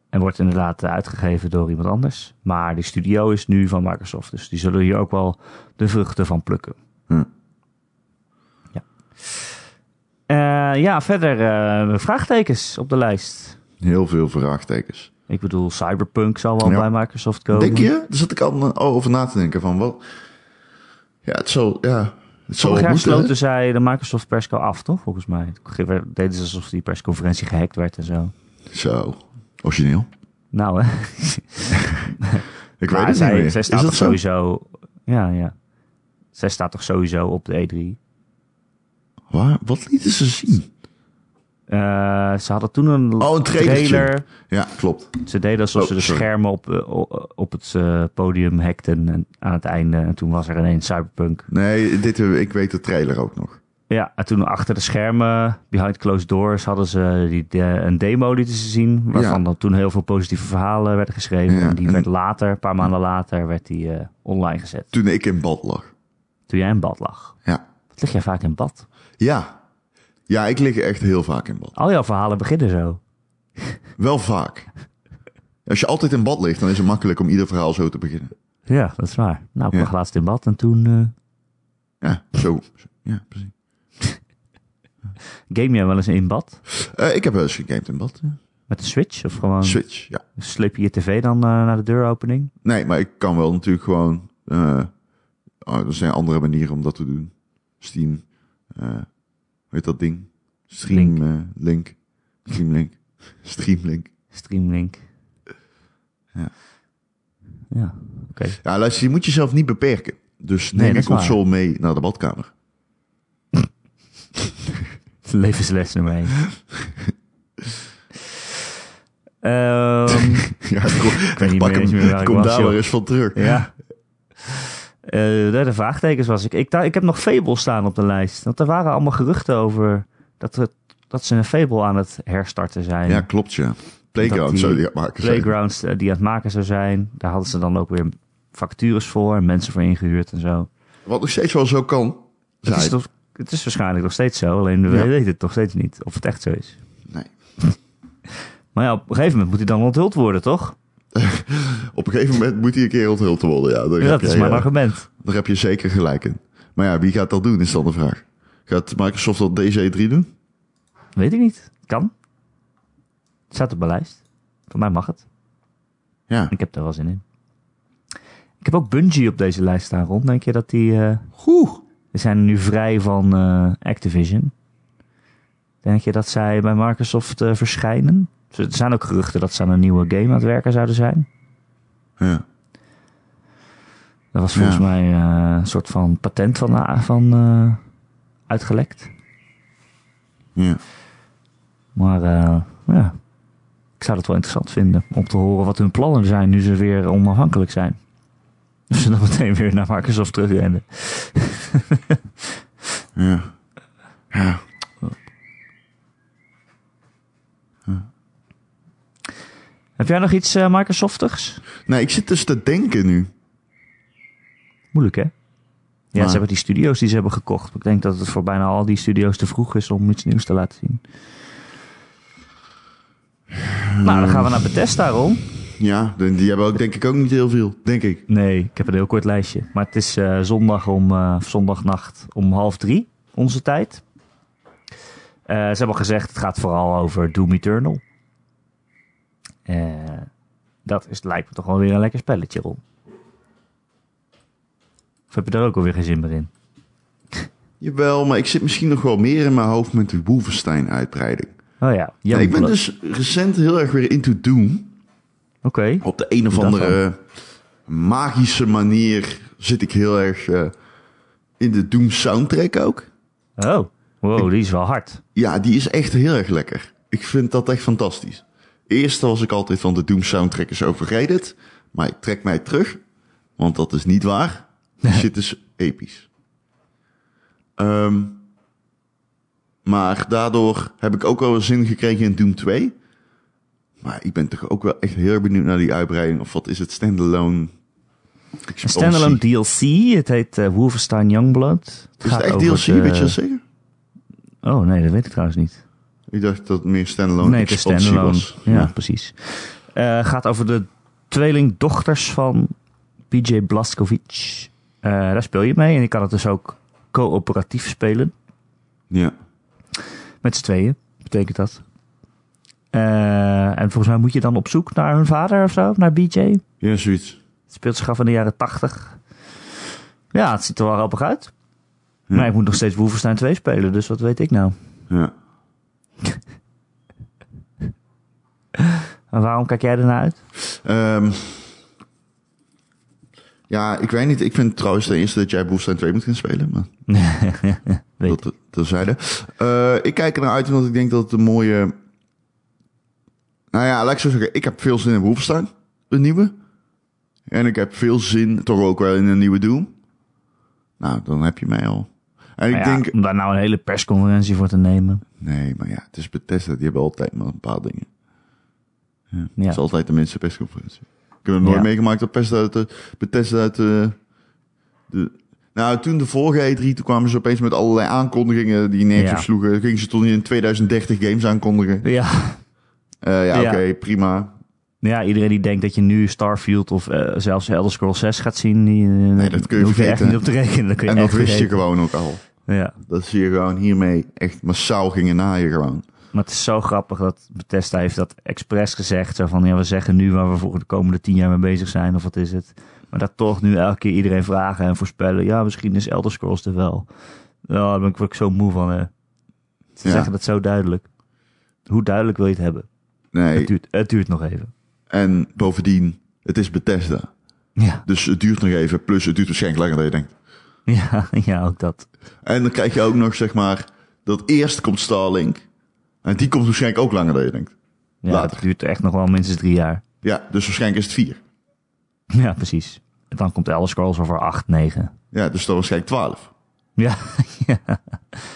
Speaker 1: En wordt inderdaad eh, uitgegeven door iemand anders. Maar die studio is nu van Microsoft. Dus die zullen hier ook wel de vruchten van plukken.
Speaker 2: Hm.
Speaker 1: Ja. Eh, ja, verder eh, vraagtekens op de lijst.
Speaker 2: Heel veel vraagtekens.
Speaker 1: Ik bedoel, Cyberpunk zal wel
Speaker 2: Ja.
Speaker 1: bij Microsoft komen.
Speaker 2: Denk je? Daar zat ik al over na te denken van wat... Ja, het zal... Ja, het zal
Speaker 1: Vorig
Speaker 2: wel
Speaker 1: jaar
Speaker 2: moeten, hè?
Speaker 1: sloten zij de Microsoft persco af, toch? Volgens mij. Toen Deden ze alsof die persconferentie gehackt werd en zo.
Speaker 2: Zo, origineel.
Speaker 1: Nou, hè.
Speaker 2: Ik
Speaker 1: Maar
Speaker 2: weet het
Speaker 1: zij,
Speaker 2: niet meer.
Speaker 1: zij
Speaker 2: Is
Speaker 1: staat
Speaker 2: dat
Speaker 1: toch
Speaker 2: zo?
Speaker 1: sowieso... Ja, ja. Zij staat toch sowieso op de E E3.
Speaker 2: Waar? Wat lieten ze zien?
Speaker 1: Eh, ze hadden toen een
Speaker 2: Oh, een trailertje.
Speaker 1: trailer.
Speaker 2: Ja, klopt.
Speaker 1: Ze deden alsof
Speaker 2: Oh,
Speaker 1: ze de
Speaker 2: sorry.
Speaker 1: schermen op, eh, o- op het eh, podium hackten en aan het einde. En toen was er ineens Cyberpunk.
Speaker 2: Nee, dit, eh, ik weet de trailer ook nog.
Speaker 1: Ja, en toen achter de schermen, behind closed doors, hadden ze die, de- een demo lieten ze zien. Waarvan
Speaker 2: Ja.
Speaker 1: dan toen heel veel positieve verhalen werden geschreven.
Speaker 2: Ja,
Speaker 1: en die
Speaker 2: en-
Speaker 1: werd later, een paar maanden later, werd die eh, online gezet.
Speaker 2: Toen ik in bad lag.
Speaker 1: Toen jij in bad lag.
Speaker 2: Ja.
Speaker 1: Wat lig jij vaak in bad?
Speaker 2: Ja. Ja, ik lig echt heel vaak in bad.
Speaker 1: Al jouw verhalen beginnen zo.
Speaker 2: Wel vaak. Als je altijd in bad ligt, dan is het makkelijk om ieder verhaal zo te beginnen.
Speaker 1: Ja, dat is waar. Nou, ik
Speaker 2: Ja.
Speaker 1: lag laatst in bad en toen eh
Speaker 2: Ja, zo. Ja, precies.
Speaker 1: game jij wel eens in bad?
Speaker 2: Eh, ik heb wel eens gegamed in bad. ja.
Speaker 1: Met een switch? Of gewoon
Speaker 2: Switch, ja.
Speaker 1: sleep je je tv dan eh, naar de deuropening?
Speaker 2: Nee, maar ik kan wel natuurlijk gewoon... eh, oh, er zijn andere manieren om dat te doen. Steam. eh, hoe heet dat ding? Stream
Speaker 1: Link.
Speaker 2: Link. Link. Streamlink. Streamlink.
Speaker 1: Streamlink.
Speaker 2: Ja.
Speaker 1: Ja, oké.
Speaker 2: Ja, luister, je moet jezelf niet beperken. Dus
Speaker 1: Nee,
Speaker 2: neem
Speaker 1: dat
Speaker 2: je
Speaker 1: is waar.
Speaker 2: console mee naar de badkamer.
Speaker 1: Levensles nummer één. Ehm,
Speaker 2: Ja, ik
Speaker 1: weet niet
Speaker 2: pak
Speaker 1: meer eens
Speaker 2: hem.
Speaker 1: meer waar ik
Speaker 2: kom
Speaker 1: was,
Speaker 2: daar
Speaker 1: joh.
Speaker 2: maar eens van terug.
Speaker 1: ja. Eh, de, de vraagtekens was ik. Ik, dacht- ik heb nog Fable staan op de lijst. Want er waren allemaal geruchten over dat, het, dat ze een Fable aan het herstarten zijn.
Speaker 2: Ja, klopt, ja.
Speaker 1: Dat die
Speaker 2: Playground zou je maken. zijn.
Speaker 1: Playgrounds eh, die aan het maken zou zijn. Daar hadden ze dan ook weer vacatures voor en mensen voor ingehuurd en zo.
Speaker 2: Wat nog steeds wel zo kan.
Speaker 1: Het is,
Speaker 2: zijn.
Speaker 1: toch, het is waarschijnlijk nog steeds zo, alleen we
Speaker 2: Ja.
Speaker 1: weten het nog steeds niet of het echt zo is.
Speaker 2: Nee.
Speaker 1: Maar ja, op een gegeven moment moet hij dan onthuld worden, toch?
Speaker 2: Op een gegeven moment moet hij een keer onthuld worden. Ja, daar,
Speaker 1: Ja,
Speaker 2: heb
Speaker 1: dat is
Speaker 2: jij,
Speaker 1: mijn
Speaker 2: eh,
Speaker 1: argument.
Speaker 2: daar heb je zeker gelijk in. Maar ja, wie gaat dat doen, is dan de vraag. Gaat Microsoft dat DC3 doen?
Speaker 1: Weet ik niet. Kan. Het staat op mijn lijst. Voor mij mag het.
Speaker 2: Ja.
Speaker 1: Ik heb daar wel zin in. Ik heb ook Bungie op deze lijst staan rond. Denk je dat die... eh,
Speaker 2: Goed.
Speaker 1: We zijn nu vrij van eh, Activision. Denk je dat zij bij Microsoft eh, verschijnen? Er zijn ook geruchten dat ze aan een nieuwe game aan het werken zouden zijn.
Speaker 2: Ja.
Speaker 1: Dat was volgens
Speaker 2: Ja.
Speaker 1: mij eh, een soort van patent van, van eh, uitgelekt.
Speaker 2: ja.
Speaker 1: Maar eh, ja, ik zou dat wel interessant vinden om te horen wat hun plannen zijn nu ze weer onafhankelijk zijn. Of ze dan meteen weer naar Microsoft terugrennen.
Speaker 2: Ja. Ja.
Speaker 1: Heb jij nog iets eh, Microsoftigs?
Speaker 2: Nee, ik zit dus te denken nu.
Speaker 1: Moeilijk, hè? Ja, ze
Speaker 2: Maar-
Speaker 1: hebben die studio's die ze hebben gekocht. Ik denk dat het voor bijna al die studio's te vroeg is om iets nieuws te laten zien. Nou, dan gaan we naar Bethesda, Ron.
Speaker 2: Ja, die die hebben ook denk ik ook niet heel veel. Denk ik.
Speaker 1: Nee, ik heb een heel kort lijstje. Maar het is eh, zondag om, eh, of zondagnacht om half drie, onze tijd. Eh, ze hebben al gezegd, het gaat vooral over Doom Eternal. Eh, dat is, lijkt me toch wel weer een lekker spelletje, Ron. Of heb je daar ook alweer geen zin meer in?
Speaker 2: Jawel, maar ik zit misschien nog wel meer in mijn hoofd met de Wolfenstein-uitbreiding.
Speaker 1: Oh ja,
Speaker 2: Ja, ik ben
Speaker 1: Youngblood.
Speaker 2: dus recent heel erg weer into Doom.
Speaker 1: Oké.
Speaker 2: op de een of
Speaker 1: Dat
Speaker 2: andere magische manier zit ik heel erg eh, in de Doom soundtrack ook.
Speaker 1: Oh, wow, die is wel hard.
Speaker 2: Ja, die is echt heel erg lekker. Ik vind dat echt fantastisch. Eerst was ik altijd van de Doom soundtrack is overrated, maar ik trek mij terug, want dat is niet waar. Die shit is episch. Ehm, maar daardoor heb ik ook wel weer zin gekregen in Doom 2. Maar ik ben toch ook wel echt heel erg benieuwd naar die uitbreiding. Of wat is het standalone?
Speaker 1: Een standalone DLC, het heet eh, Wolfenstein Youngblood.
Speaker 2: Is het
Speaker 1: gaat
Speaker 2: echt
Speaker 1: over
Speaker 2: DLC,
Speaker 1: de-
Speaker 2: weet je dat zeker?
Speaker 1: Oh nee, dat weet ik trouwens niet.
Speaker 2: Ik dacht dat het meer standalone
Speaker 1: nee, het is
Speaker 2: expansie
Speaker 1: standalone.
Speaker 2: was.
Speaker 1: Ja, precies. Eh, gaat over de tweelingdochters van PJ Blazkowicz. Eh, daar speel je mee en je kan het dus ook coöperatief spelen.
Speaker 2: ja.
Speaker 1: Met z'n tweeën, betekent dat. Eh, en volgens mij moet je dan op zoek naar hun vader of zo, naar BJ.
Speaker 2: Ja, zoiets.
Speaker 1: Het speelt zich af in de jaren 80. Ja, het ziet er wel grappig uit.
Speaker 2: Ja.
Speaker 1: Maar ik moet nog steeds Wolfenstein 2 spelen, dus wat weet ik nou?
Speaker 2: Ja.
Speaker 1: En waarom kijk jij ernaar uit?
Speaker 2: Ehm, ja, ik weet niet. Ik vind trouwens ten eerste dat jij Wolfenstein 2 moet gaan spelen. Maar
Speaker 1: Weet
Speaker 2: dat terzijde. Eh ik kijk ernaar uit omdat ik denk dat het een mooie... Nou ja, laat ik zo zeggen. Ik heb veel zin in Wolfenstein. Een nieuwe. En ik heb veel zin toch ook wel in een nieuwe Doom. Nou, dan heb je mij al. En ik
Speaker 1: Maar ja,
Speaker 2: denk,
Speaker 1: Om daar nou een hele persconferentie voor te nemen.
Speaker 2: nee, maar ja, het is Bethesda. Die hebben altijd maar een paar dingen. Ja.
Speaker 1: Ja.
Speaker 2: Het is altijd de minste persconferentie. Ik heb nog nooit
Speaker 1: Ja.
Speaker 2: meegemaakt dat Bethesda uit de... Bethesda uit de, de- nou, toen de vorige E3, toen kwamen ze opeens met allerlei aankondigingen die nergens
Speaker 1: Ja.
Speaker 2: op sloegen. Dan Gingen ze tot in 2030 games aankondigen.
Speaker 1: Ja.
Speaker 2: Eh, ja,
Speaker 1: Ja.
Speaker 2: oké, prima.
Speaker 1: ja, iedereen die denkt dat je nu Starfield of eh, zelfs Elder Scrolls 6 gaat zien, die, eh,
Speaker 2: Nee, dat kun
Speaker 1: daar
Speaker 2: je
Speaker 1: hoef je echt
Speaker 2: vergeten.
Speaker 1: niet op te rekenen. Dat kun je
Speaker 2: En dat
Speaker 1: echt
Speaker 2: wist je
Speaker 1: vergeten.
Speaker 2: gewoon ook al.
Speaker 1: Ja.
Speaker 2: Dat ze je gewoon hiermee echt massaal gingen naaien gewoon.
Speaker 1: Maar het is zo grappig dat Bethesda heeft dat expres gezegd. Zo van, ja, we zeggen nu waar we voor de komende tien jaar mee bezig zijn of wat is het. Maar dat toch nu elke keer iedereen vragen en voorspellen. Ja, misschien is Elder Scrolls er wel. Ja, daar ben ik, word ik zo moe van. Hè. Ze
Speaker 2: Ja.
Speaker 1: zeggen dat zo duidelijk. Hoe duidelijk wil je het hebben?
Speaker 2: Nee,
Speaker 1: Het, duurt, het duurt nog even.
Speaker 2: en bovendien, het is Bethesda.
Speaker 1: Ja,
Speaker 2: Dus het duurt nog even, plus het duurt waarschijnlijk langer dan je denkt.
Speaker 1: ja, ja ook dat.
Speaker 2: En dan krijg je ook nog, zeg maar, dat eerst komt Starlink. En die komt waarschijnlijk ook langer dan je denkt.
Speaker 1: Ja,
Speaker 2: Later.
Speaker 1: Het duurt echt nog wel minstens drie jaar.
Speaker 2: Ja, dus waarschijnlijk is het vier.
Speaker 1: Ja, precies. En dan komt Elder Scrolls over acht, negen.
Speaker 2: Ja, dus dan waarschijnlijk twaalf.
Speaker 1: Ja, ja.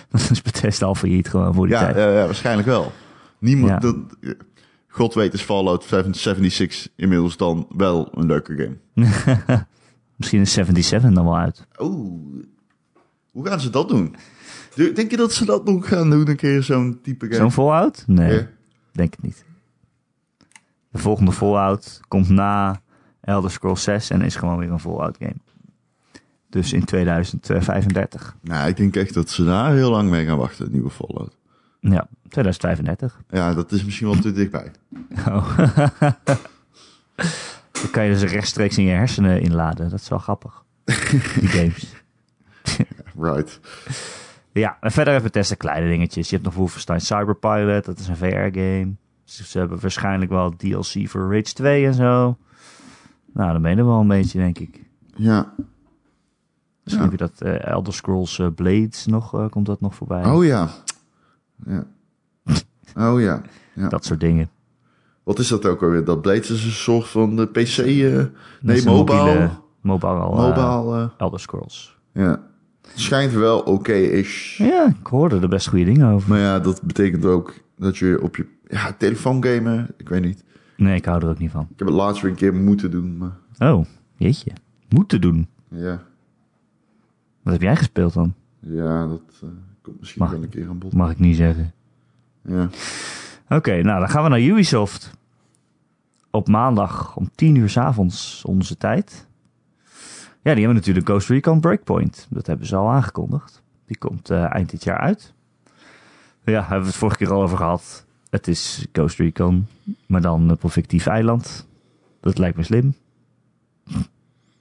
Speaker 1: Dat is Bethesda al failliet gewoon voor die
Speaker 2: Ja,
Speaker 1: tijd.
Speaker 2: eh, ja, waarschijnlijk wel. Niemand,
Speaker 1: Ja.
Speaker 2: dat- eh, God weet is Fallout 76 inmiddels dan wel een leuke game.
Speaker 1: Misschien is 77 dan wel uit.
Speaker 2: Oeh, hoe gaan ze dat doen? Du- Denk je dat ze dat nog gaan doen, een keer zo'n type game?
Speaker 1: Zo'n Fallout? Nee,
Speaker 2: Ja.
Speaker 1: denk het niet. De volgende Fallout komt na Elder Scrolls 6 en is gewoon weer een Fallout game. Dus in 2035.
Speaker 2: Nou, ik denk echt dat ze daar heel lang mee gaan wachten, het nieuwe Fallout.
Speaker 1: Ja, 2035.
Speaker 2: Ja, dat is misschien wel te dichtbij.
Speaker 1: Oh. Dan kan je dus rechtstreeks in je hersenen inladen. Dat is wel grappig. Die games.
Speaker 2: Right.
Speaker 1: Ja, en verder even testen kleine dingetjes. Je hebt nog Wolfenstein Cyberpilot, dat is een VR-game. Ze hebben waarschijnlijk wel DLC voor Rage 2 en zo. Nou, dan ben je er wel een beetje, denk ik.
Speaker 2: Ja.
Speaker 1: Misschien
Speaker 2: Ja.
Speaker 1: heb je dat eh, Elder Scrolls eh, Blades nog, eh, komt dat nog voorbij.
Speaker 2: Oh ja. ja. Oh ja. ja.
Speaker 1: Dat soort dingen.
Speaker 2: Wat is dat ook alweer? Dat Blades is een soort van de PC... eh,
Speaker 1: Dat
Speaker 2: nee,
Speaker 1: is een mobiele-
Speaker 2: mobile.
Speaker 1: Mobile, eh,
Speaker 2: Mobile. eh,
Speaker 1: Elder Scrolls.
Speaker 2: ja. Schijnt wel oké-ish.
Speaker 1: Ja, ik hoorde er best goede dingen over.
Speaker 2: Maar ja, dat betekent ook dat je op je ja, telefoon gamen. Ik weet niet.
Speaker 1: Nee, ik hou er ook niet van.
Speaker 2: Ik heb het laatst weer een keer moeten doen, maar
Speaker 1: Oh, jeetje. Moeten doen.
Speaker 2: ja,
Speaker 1: Wat heb jij gespeeld dan?
Speaker 2: ja dat eh, komt misschien
Speaker 1: Mag-
Speaker 2: wel een keer aan bod.
Speaker 1: Mag ik niet zeggen.
Speaker 2: Ja.
Speaker 1: Oké, nou dan gaan we naar Ubisoft. Op maandag om 10 uur 's avonds onze tijd. Ja, die hebben natuurlijk Ghost Recon Breakpoint. Dat hebben ze al aangekondigd. Die komt eh, eind dit jaar uit. Ja, hebben we het vorige keer al over gehad. Het is Ghost Recon, maar dan op een fictief eiland. Dat lijkt me slim.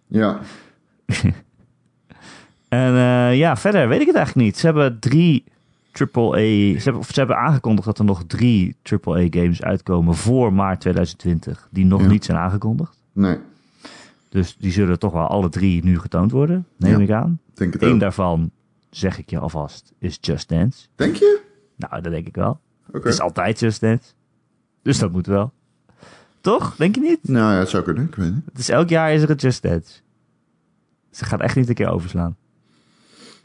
Speaker 2: ja,
Speaker 1: En eh, ja, verder weet ik het eigenlijk niet. Ze hebben drie AAA... Ze hebben, of ze hebben aangekondigd dat er nog drie AAA-games uitkomen voor maart 2020... die nog
Speaker 2: Ja.
Speaker 1: niet zijn aangekondigd.
Speaker 2: nee,
Speaker 1: Dus die zullen toch wel alle drie nu getoond worden, neem
Speaker 2: Ja.
Speaker 1: ik aan.
Speaker 2: ik denk het
Speaker 1: Eén
Speaker 2: ook.
Speaker 1: daarvan, zeg ik je alvast, is Just Dance.
Speaker 2: Denk je?
Speaker 1: Nou, dat denk ik wel.
Speaker 2: Oké.
Speaker 1: Het is altijd Just Dance. Dus dat moet wel. Toch? Denk je niet?
Speaker 2: Nou ja, het zou kunnen, ik weet niet.
Speaker 1: Het is elk jaar is er een Just Dance. Ze gaat echt niet een keer overslaan.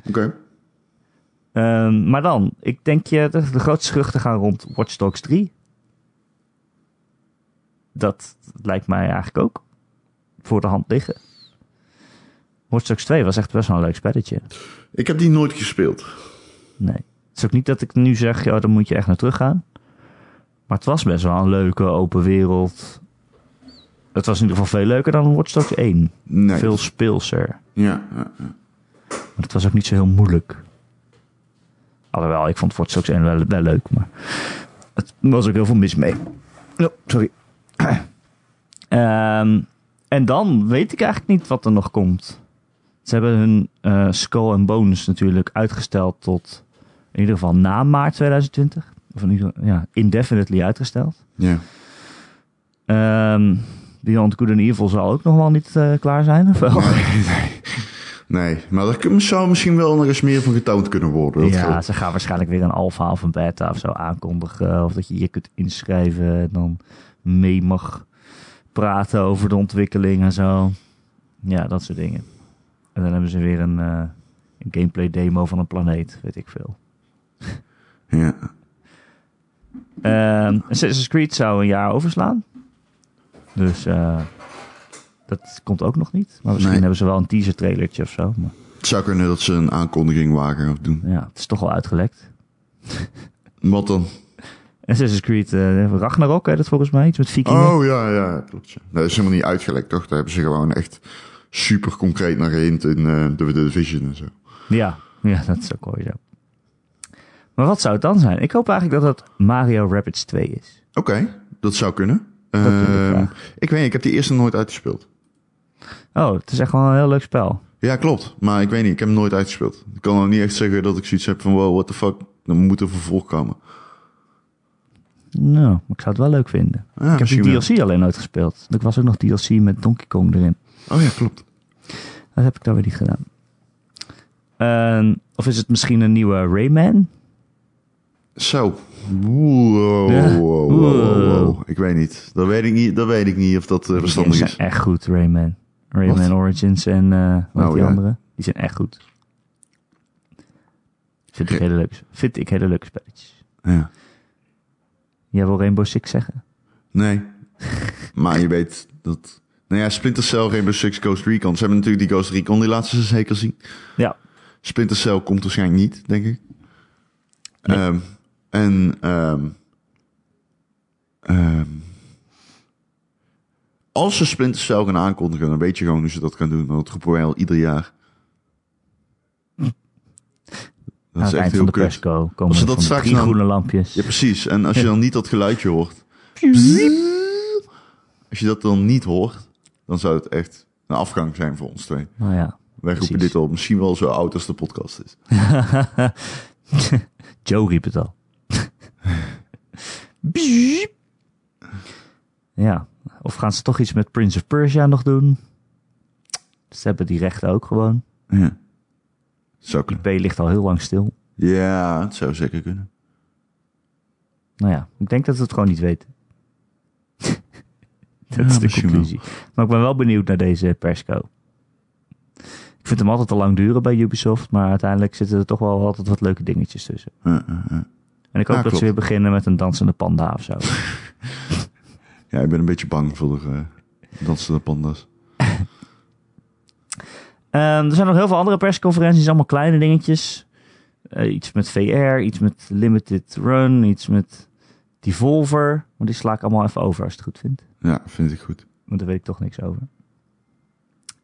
Speaker 2: Oké.
Speaker 1: Ehm, maar dan, ik denk je dat de grootste schuchten gaan rond Watch Dogs 3. Dat lijkt mij eigenlijk ook voor de hand liggen. Watch Dogs 2 was echt best wel een leuk spelletje.
Speaker 2: Ik heb die nooit gespeeld.
Speaker 1: Nee. Het is ook niet dat ik nu zeg, ja, daar moet je echt naar terug gaan. Maar het was best wel een leuke open wereld. Het was in ieder geval veel leuker dan Watch Dogs 1.
Speaker 2: Nee.
Speaker 1: Veel speelser.
Speaker 2: Ja, ja, ja.
Speaker 1: Maar het was ook niet zo heel moeilijk. Alhoewel, ik vond Watch Dogs 1 wel, wel leuk, maar het was ook heel veel mis mee. Oh, sorry. Ehm, en dan weet ik eigenlijk niet wat er nog komt. Ze hebben hun eh, Skull and Bones natuurlijk uitgesteld tot in ieder geval na maart 2020. Of in ieder geval, ja, indefinitely uitgesteld.
Speaker 2: ja.
Speaker 1: Ehm, Beyond Good and Evil zal ook nog wel niet eh, klaar zijn, of wel?
Speaker 2: Nee, maar daar kun- zou misschien wel nog eens meer van getoond kunnen worden. Dat
Speaker 1: Ja,
Speaker 2: geloof ik.
Speaker 1: ze gaan waarschijnlijk weer een alfa of een beta of zo aankondigen. Of dat je je kunt inschrijven en dan mee mag praten over de ontwikkeling en zo. Ja, dat soort dingen. En dan hebben ze weer een eh, Een gameplay demo van een planeet, weet ik veel.
Speaker 2: Ja.
Speaker 1: Ehm, Assassin's Creed zou een jaar overslaan. Dus eh, dat komt ook nog niet. Maar misschien
Speaker 2: Nee.
Speaker 1: hebben ze wel een teaser trailertje of zo. Maar
Speaker 2: Het zou kunnen dat ze een aankondiging wagen of doen.
Speaker 1: ja, het is toch al uitgelekt.
Speaker 2: Wat dan?
Speaker 1: Assassin's Creed eh, Ragnarok, hè, dat volgens mij. Iets met vikingen.
Speaker 2: Oh ja, ja, klopt. ja. Dat is helemaal niet uitgelekt, toch? Daar hebben ze gewoon echt super concreet naar gehind in eh, de, de Division en zo.
Speaker 1: Ja, ja, dat is ook mooi zo. Maar wat zou het dan zijn? Ik hoop eigenlijk dat het Mario Rapids 2 is.
Speaker 2: Oké, dat zou kunnen.
Speaker 1: wil ik
Speaker 2: Ehm,
Speaker 1: graag.
Speaker 2: ik weet niet, ik heb die eerste nooit uitgespeeld.
Speaker 1: Oh, het is echt wel een heel leuk spel.
Speaker 2: Ja, klopt. Maar ik weet niet, ik heb hem nooit uitgespeeld. Ik kan ook niet echt zeggen dat ik zoiets heb van wow, what the fuck. Dan moet er vervolg komen.
Speaker 1: Nou, maar ik zou het wel leuk vinden.
Speaker 2: Ah,
Speaker 1: ik heb die
Speaker 2: misschien wel.
Speaker 1: DLC alleen nooit gespeeld. Er was ook nog DLC met Donkey Kong erin.
Speaker 2: Oh ja, klopt.
Speaker 1: Dat heb ik dan weer niet gedaan. Ehm, of is het misschien een nieuwe Rayman?
Speaker 2: Zo. Wow,
Speaker 1: Ja.
Speaker 2: wow, wow, wow,
Speaker 1: Wow.
Speaker 2: wow. Ik weet niet. Dat weet ik niet, dat, weet ik niet of dat eh,
Speaker 1: Die
Speaker 2: verstandig
Speaker 1: zijn
Speaker 2: is.
Speaker 1: echt goed, Rayman. Rayman
Speaker 2: Wat?
Speaker 1: Origins en eh wat
Speaker 2: Oh,
Speaker 1: die
Speaker 2: ja.
Speaker 1: andere. Die zijn echt goed. Vind ik,
Speaker 2: Ja.
Speaker 1: hele leuke, vind ik hele leuke spelletjes.
Speaker 2: Ja.
Speaker 1: Jij wil Rainbow Six zeggen?
Speaker 2: Nee. maar je weet dat... Nou ja, Splinter Cell, Rainbow Six, Ghost Recon. Ze hebben natuurlijk die Ghost Recon die laatste zeker zien.
Speaker 1: Ja.
Speaker 2: Splinter Cell komt waarschijnlijk niet, denk ik.
Speaker 1: Nee.
Speaker 2: Ehm, en ehm, ehm, als ze Splinter Cell gaan aankondigen, dan weet je gewoon hoe ze dat gaan doen. Want dat roepen wij al ieder jaar. Dat
Speaker 1: Hm. Aan
Speaker 2: is
Speaker 1: het eind
Speaker 2: echt
Speaker 1: van
Speaker 2: heel
Speaker 1: de
Speaker 2: kut.
Speaker 1: persco komen
Speaker 2: Als
Speaker 1: ze
Speaker 2: ze
Speaker 1: dat
Speaker 2: dat
Speaker 1: van die
Speaker 2: straks
Speaker 1: drie
Speaker 2: dan-
Speaker 1: groene lampjes.
Speaker 2: Ja, precies. En als je dan niet dat geluidje hoort. Als je dat dan niet hoort, dan zou het echt een afgang zijn voor ons twee.
Speaker 1: Nou ja.
Speaker 2: Wij roepen
Speaker 1: Precies.
Speaker 2: dit al misschien wel zo oud als de podcast is.
Speaker 1: Joe riep het al. Biep. ja, of gaan ze toch iets met Prince of Persia nog doen? Ze hebben die rechten ook gewoon.
Speaker 2: Ja. Zou kunnen.
Speaker 1: IP ligt al heel lang stil.
Speaker 2: Ja, het zou zeker kunnen.
Speaker 1: Nou ja, ik denk dat we het gewoon niet weten. dat
Speaker 2: Ja,
Speaker 1: is de
Speaker 2: misschien
Speaker 1: conclusie. Maar ik ben wel benieuwd naar deze persco. Ik vind hem altijd te lang duren bij Ubisoft, maar uiteindelijk zitten er toch wel altijd wat leuke dingetjes tussen.
Speaker 2: Ja, ja, ja.
Speaker 1: En ik hoop dat
Speaker 2: Ja,
Speaker 1: ze
Speaker 2: klopt.
Speaker 1: weer beginnen met een dansende panda of zo.
Speaker 2: Ja, ik ben een beetje bang voor de eh, dansende pandas.
Speaker 1: Ehm, er zijn nog heel veel andere persconferenties, allemaal kleine dingetjes. Eh, iets met VR, iets met Limited Run, iets met Devolver. Maar die sla ik allemaal even over als je het goed vindt.
Speaker 2: Ja, vind ik goed.
Speaker 1: Want daar weet ik toch niks over.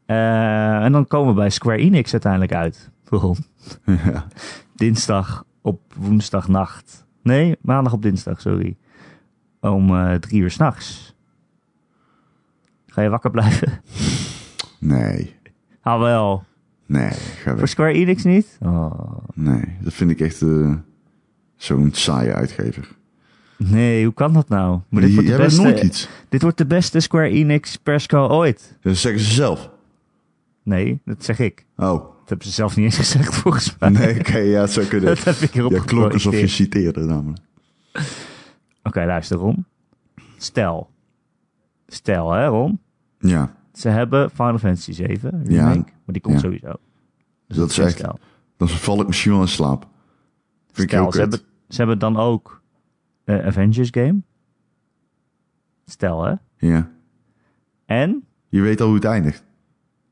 Speaker 1: Eh, en dan komen we bij Square Enix uiteindelijk uit. Waarom?
Speaker 2: ja.
Speaker 1: Dinsdag op woensdagnacht. Nee, maandag op dinsdag, sorry. Om eh, drie uur s'nachts. Ga je wakker blijven?
Speaker 2: Nee,
Speaker 1: Ah wel.
Speaker 2: nee, ga
Speaker 1: Voor
Speaker 2: weg.
Speaker 1: Square Enix niet? Oh.
Speaker 2: Nee, dat vind ik echt eh, zo'n saaie uitgever.
Speaker 1: Nee, hoe kan dat nou? Maar dit
Speaker 2: Die
Speaker 1: wordt de
Speaker 2: hebben
Speaker 1: beste,
Speaker 2: nooit iets.
Speaker 1: Dit wordt de beste Square Enix persco ooit.
Speaker 2: Dat zeggen ze zelf.
Speaker 1: Nee, dat zeg ik.
Speaker 2: Oh,
Speaker 1: Dat hebben ze zelf niet eens gezegd volgens mij.
Speaker 2: nee, oké, ja, het zou kunnen.
Speaker 1: Dat heb ik erop
Speaker 2: Ja, klonk alsof je
Speaker 1: geprojecteerd.
Speaker 2: citeerde namelijk.
Speaker 1: Oké, luister Ron. Stel. Stel hè Ron.
Speaker 2: Ja,
Speaker 1: Ze hebben Final Fantasy 7 remake.
Speaker 2: Ja.
Speaker 1: Maar die komt
Speaker 2: Ja.
Speaker 1: sowieso. Dus
Speaker 2: dat is
Speaker 1: geen
Speaker 2: echt-
Speaker 1: Stel,
Speaker 2: dan val ik misschien wel in slaap. Vind ik
Speaker 1: Stel,
Speaker 2: heel
Speaker 1: ze,
Speaker 2: kut.
Speaker 1: hebben, ze hebben dan ook eh, Avengers game. Stel hè.
Speaker 2: Ja,
Speaker 1: En?
Speaker 2: je weet al hoe het eindigt.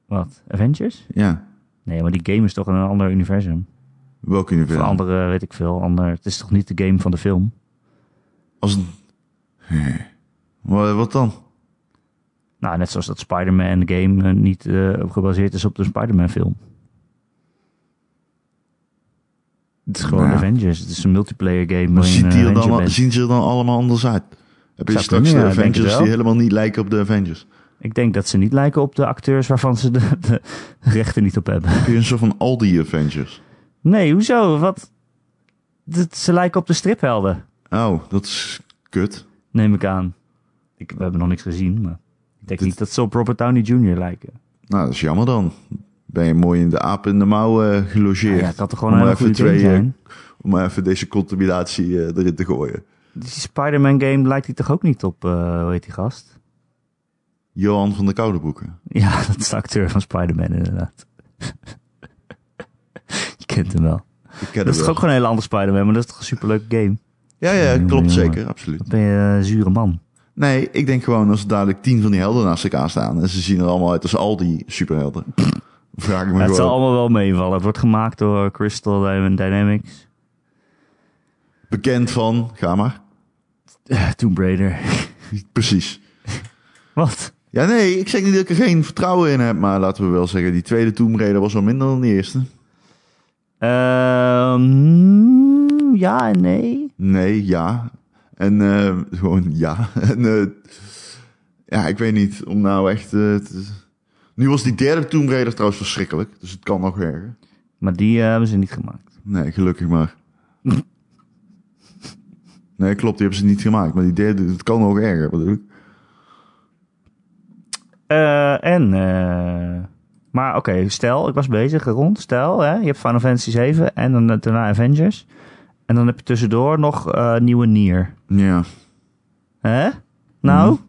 Speaker 1: Wat? Avengers?
Speaker 2: Ja,
Speaker 1: Nee, maar die game is toch in een ander universum.
Speaker 2: welke
Speaker 1: Of een
Speaker 2: universum?
Speaker 1: andere, weet ik veel. Ander, het is toch niet de game van de film?
Speaker 2: Als een... Wat, wat dan?
Speaker 1: Nou, net zoals dat Spider-Man game eh, niet eh, gebaseerd is op de Spider-Man film. Het is gewoon
Speaker 2: Nou ja.
Speaker 1: Avengers. Het is een multiplayer game.
Speaker 2: Maar
Speaker 1: waarin
Speaker 2: ziet
Speaker 1: een
Speaker 2: die er
Speaker 1: Avenger
Speaker 2: dan, al-
Speaker 1: bent.
Speaker 2: zien ze er dan allemaal anders uit? Heb je
Speaker 1: eh, Zou
Speaker 2: straks
Speaker 1: kunnen,
Speaker 2: de
Speaker 1: ja, denk
Speaker 2: Avengers
Speaker 1: het wel.
Speaker 2: die helemaal niet lijken op de Avengers?
Speaker 1: Ik denk dat ze niet lijken op de acteurs waarvan ze de, de rechten niet op hebben.
Speaker 2: Heb je een soort van al die Avengers?
Speaker 1: Nee, hoezo? Wat? Dat- ze lijken op de striphelden,
Speaker 2: Oh, dat is kut.
Speaker 1: neem ik aan. Ik, we hebben nog niks gezien, maar ik denk
Speaker 2: Dit-
Speaker 1: niet dat ze op Robert Downey Jr. lijken.
Speaker 2: Nou, dat is jammer dan. Ben je mooi in de aap in de mouw eh,
Speaker 1: Nou
Speaker 2: gelogeerd.
Speaker 1: ja, het had er gewoon een
Speaker 2: Om
Speaker 1: hele
Speaker 2: even
Speaker 1: goede game
Speaker 2: twee, eh,
Speaker 1: zijn.
Speaker 2: Om maar even deze contaminatie eh, erin te gooien.
Speaker 1: Die Spider-Man game lijkt hij toch ook niet op, eh hoe heet die gast?
Speaker 2: Johan van de Koude Boeken.
Speaker 1: Ja, dat is de acteur van Spider-Man inderdaad. kent hem wel.
Speaker 2: Ik
Speaker 1: Dat is
Speaker 2: ken hem
Speaker 1: toch
Speaker 2: wel.
Speaker 1: ook gewoon een hele andere Spider-Man, maar dat is toch een superleuk game.
Speaker 2: Ja, ja,
Speaker 1: Jongen,
Speaker 2: klopt
Speaker 1: jongen.
Speaker 2: zeker, absoluut.
Speaker 1: Dan ben je een zure man.
Speaker 2: Nee, ik denk gewoon als er dadelijk tien van die helden naast elkaar staan... en ze zien er allemaal uit als al die superhelden. Vraag ik me
Speaker 1: Ja, het zal
Speaker 2: gewoon.
Speaker 1: allemaal wel meevallen. Het wordt gemaakt door Crystal Dynamics.
Speaker 2: Bekend van, ga maar.
Speaker 1: Eh, Tomb Raider.
Speaker 2: Precies.
Speaker 1: Wat?
Speaker 2: Ja, nee, ik zeg niet dat ik er geen vertrouwen in heb... maar laten we wel zeggen, die tweede Tomb Raider was wel minder dan die eerste.
Speaker 1: Ehm, mm, ja en nee.
Speaker 2: Nee, ja. En eh, gewoon ja. En, eh, ja, ik weet niet, om nou echt... eh, te- Nu was die derde Tomb Raider trouwens verschrikkelijk, dus het kan nog erger.
Speaker 1: Maar die eh, hebben ze niet gemaakt.
Speaker 2: Nee, gelukkig maar. Nee, klopt, die hebben ze niet gemaakt. Maar die derde, het kan nog erger, bedoel ik.
Speaker 1: Eh, en, eh, maar oké, stel, ik was bezig rond. Stel, hè, je hebt Final Fantasy 7 en dan eh, daarna Avengers. En dan heb je tussendoor nog eh, nieuwe Nier.
Speaker 2: Ja.
Speaker 1: Hè? Nou,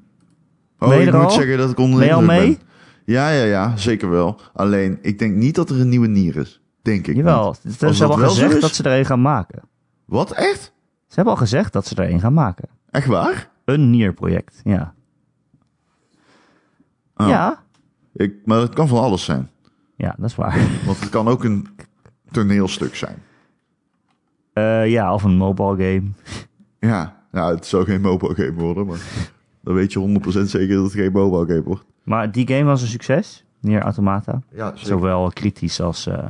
Speaker 2: Oh,
Speaker 1: Ben je
Speaker 2: ik
Speaker 1: er
Speaker 2: moet
Speaker 1: al?
Speaker 2: zeggen dat ik onder de
Speaker 1: Ben je al
Speaker 2: indruk
Speaker 1: mee?
Speaker 2: ben. Ja, ja, ja, zeker wel. Alleen, ik denk niet dat er een nieuwe nier is. Denk ik
Speaker 1: jawel.
Speaker 2: niet.
Speaker 1: Ze
Speaker 2: dat
Speaker 1: hebben al
Speaker 2: wel dus- zo is?
Speaker 1: gezegd dat ze er een gaan maken.
Speaker 2: Wat, echt?
Speaker 1: Ze hebben al gezegd dat ze er een gaan maken.
Speaker 2: Echt waar?
Speaker 1: Een Nier-project, ja.
Speaker 2: Oh.
Speaker 1: Ja?
Speaker 2: Ik, maar het kan van alles zijn.
Speaker 1: Ja, dat is waar.
Speaker 2: Want het kan ook een toneelstuk zijn.
Speaker 1: Eh, ja, of een mobile game.
Speaker 2: Ja, nou, het zou geen mobile game worden, maar... Dan weet je 100% zeker dat het geen mobile game wordt.
Speaker 1: Maar die game was een succes. Nier Automata.
Speaker 2: Ja,
Speaker 1: Zowel kritisch als eh,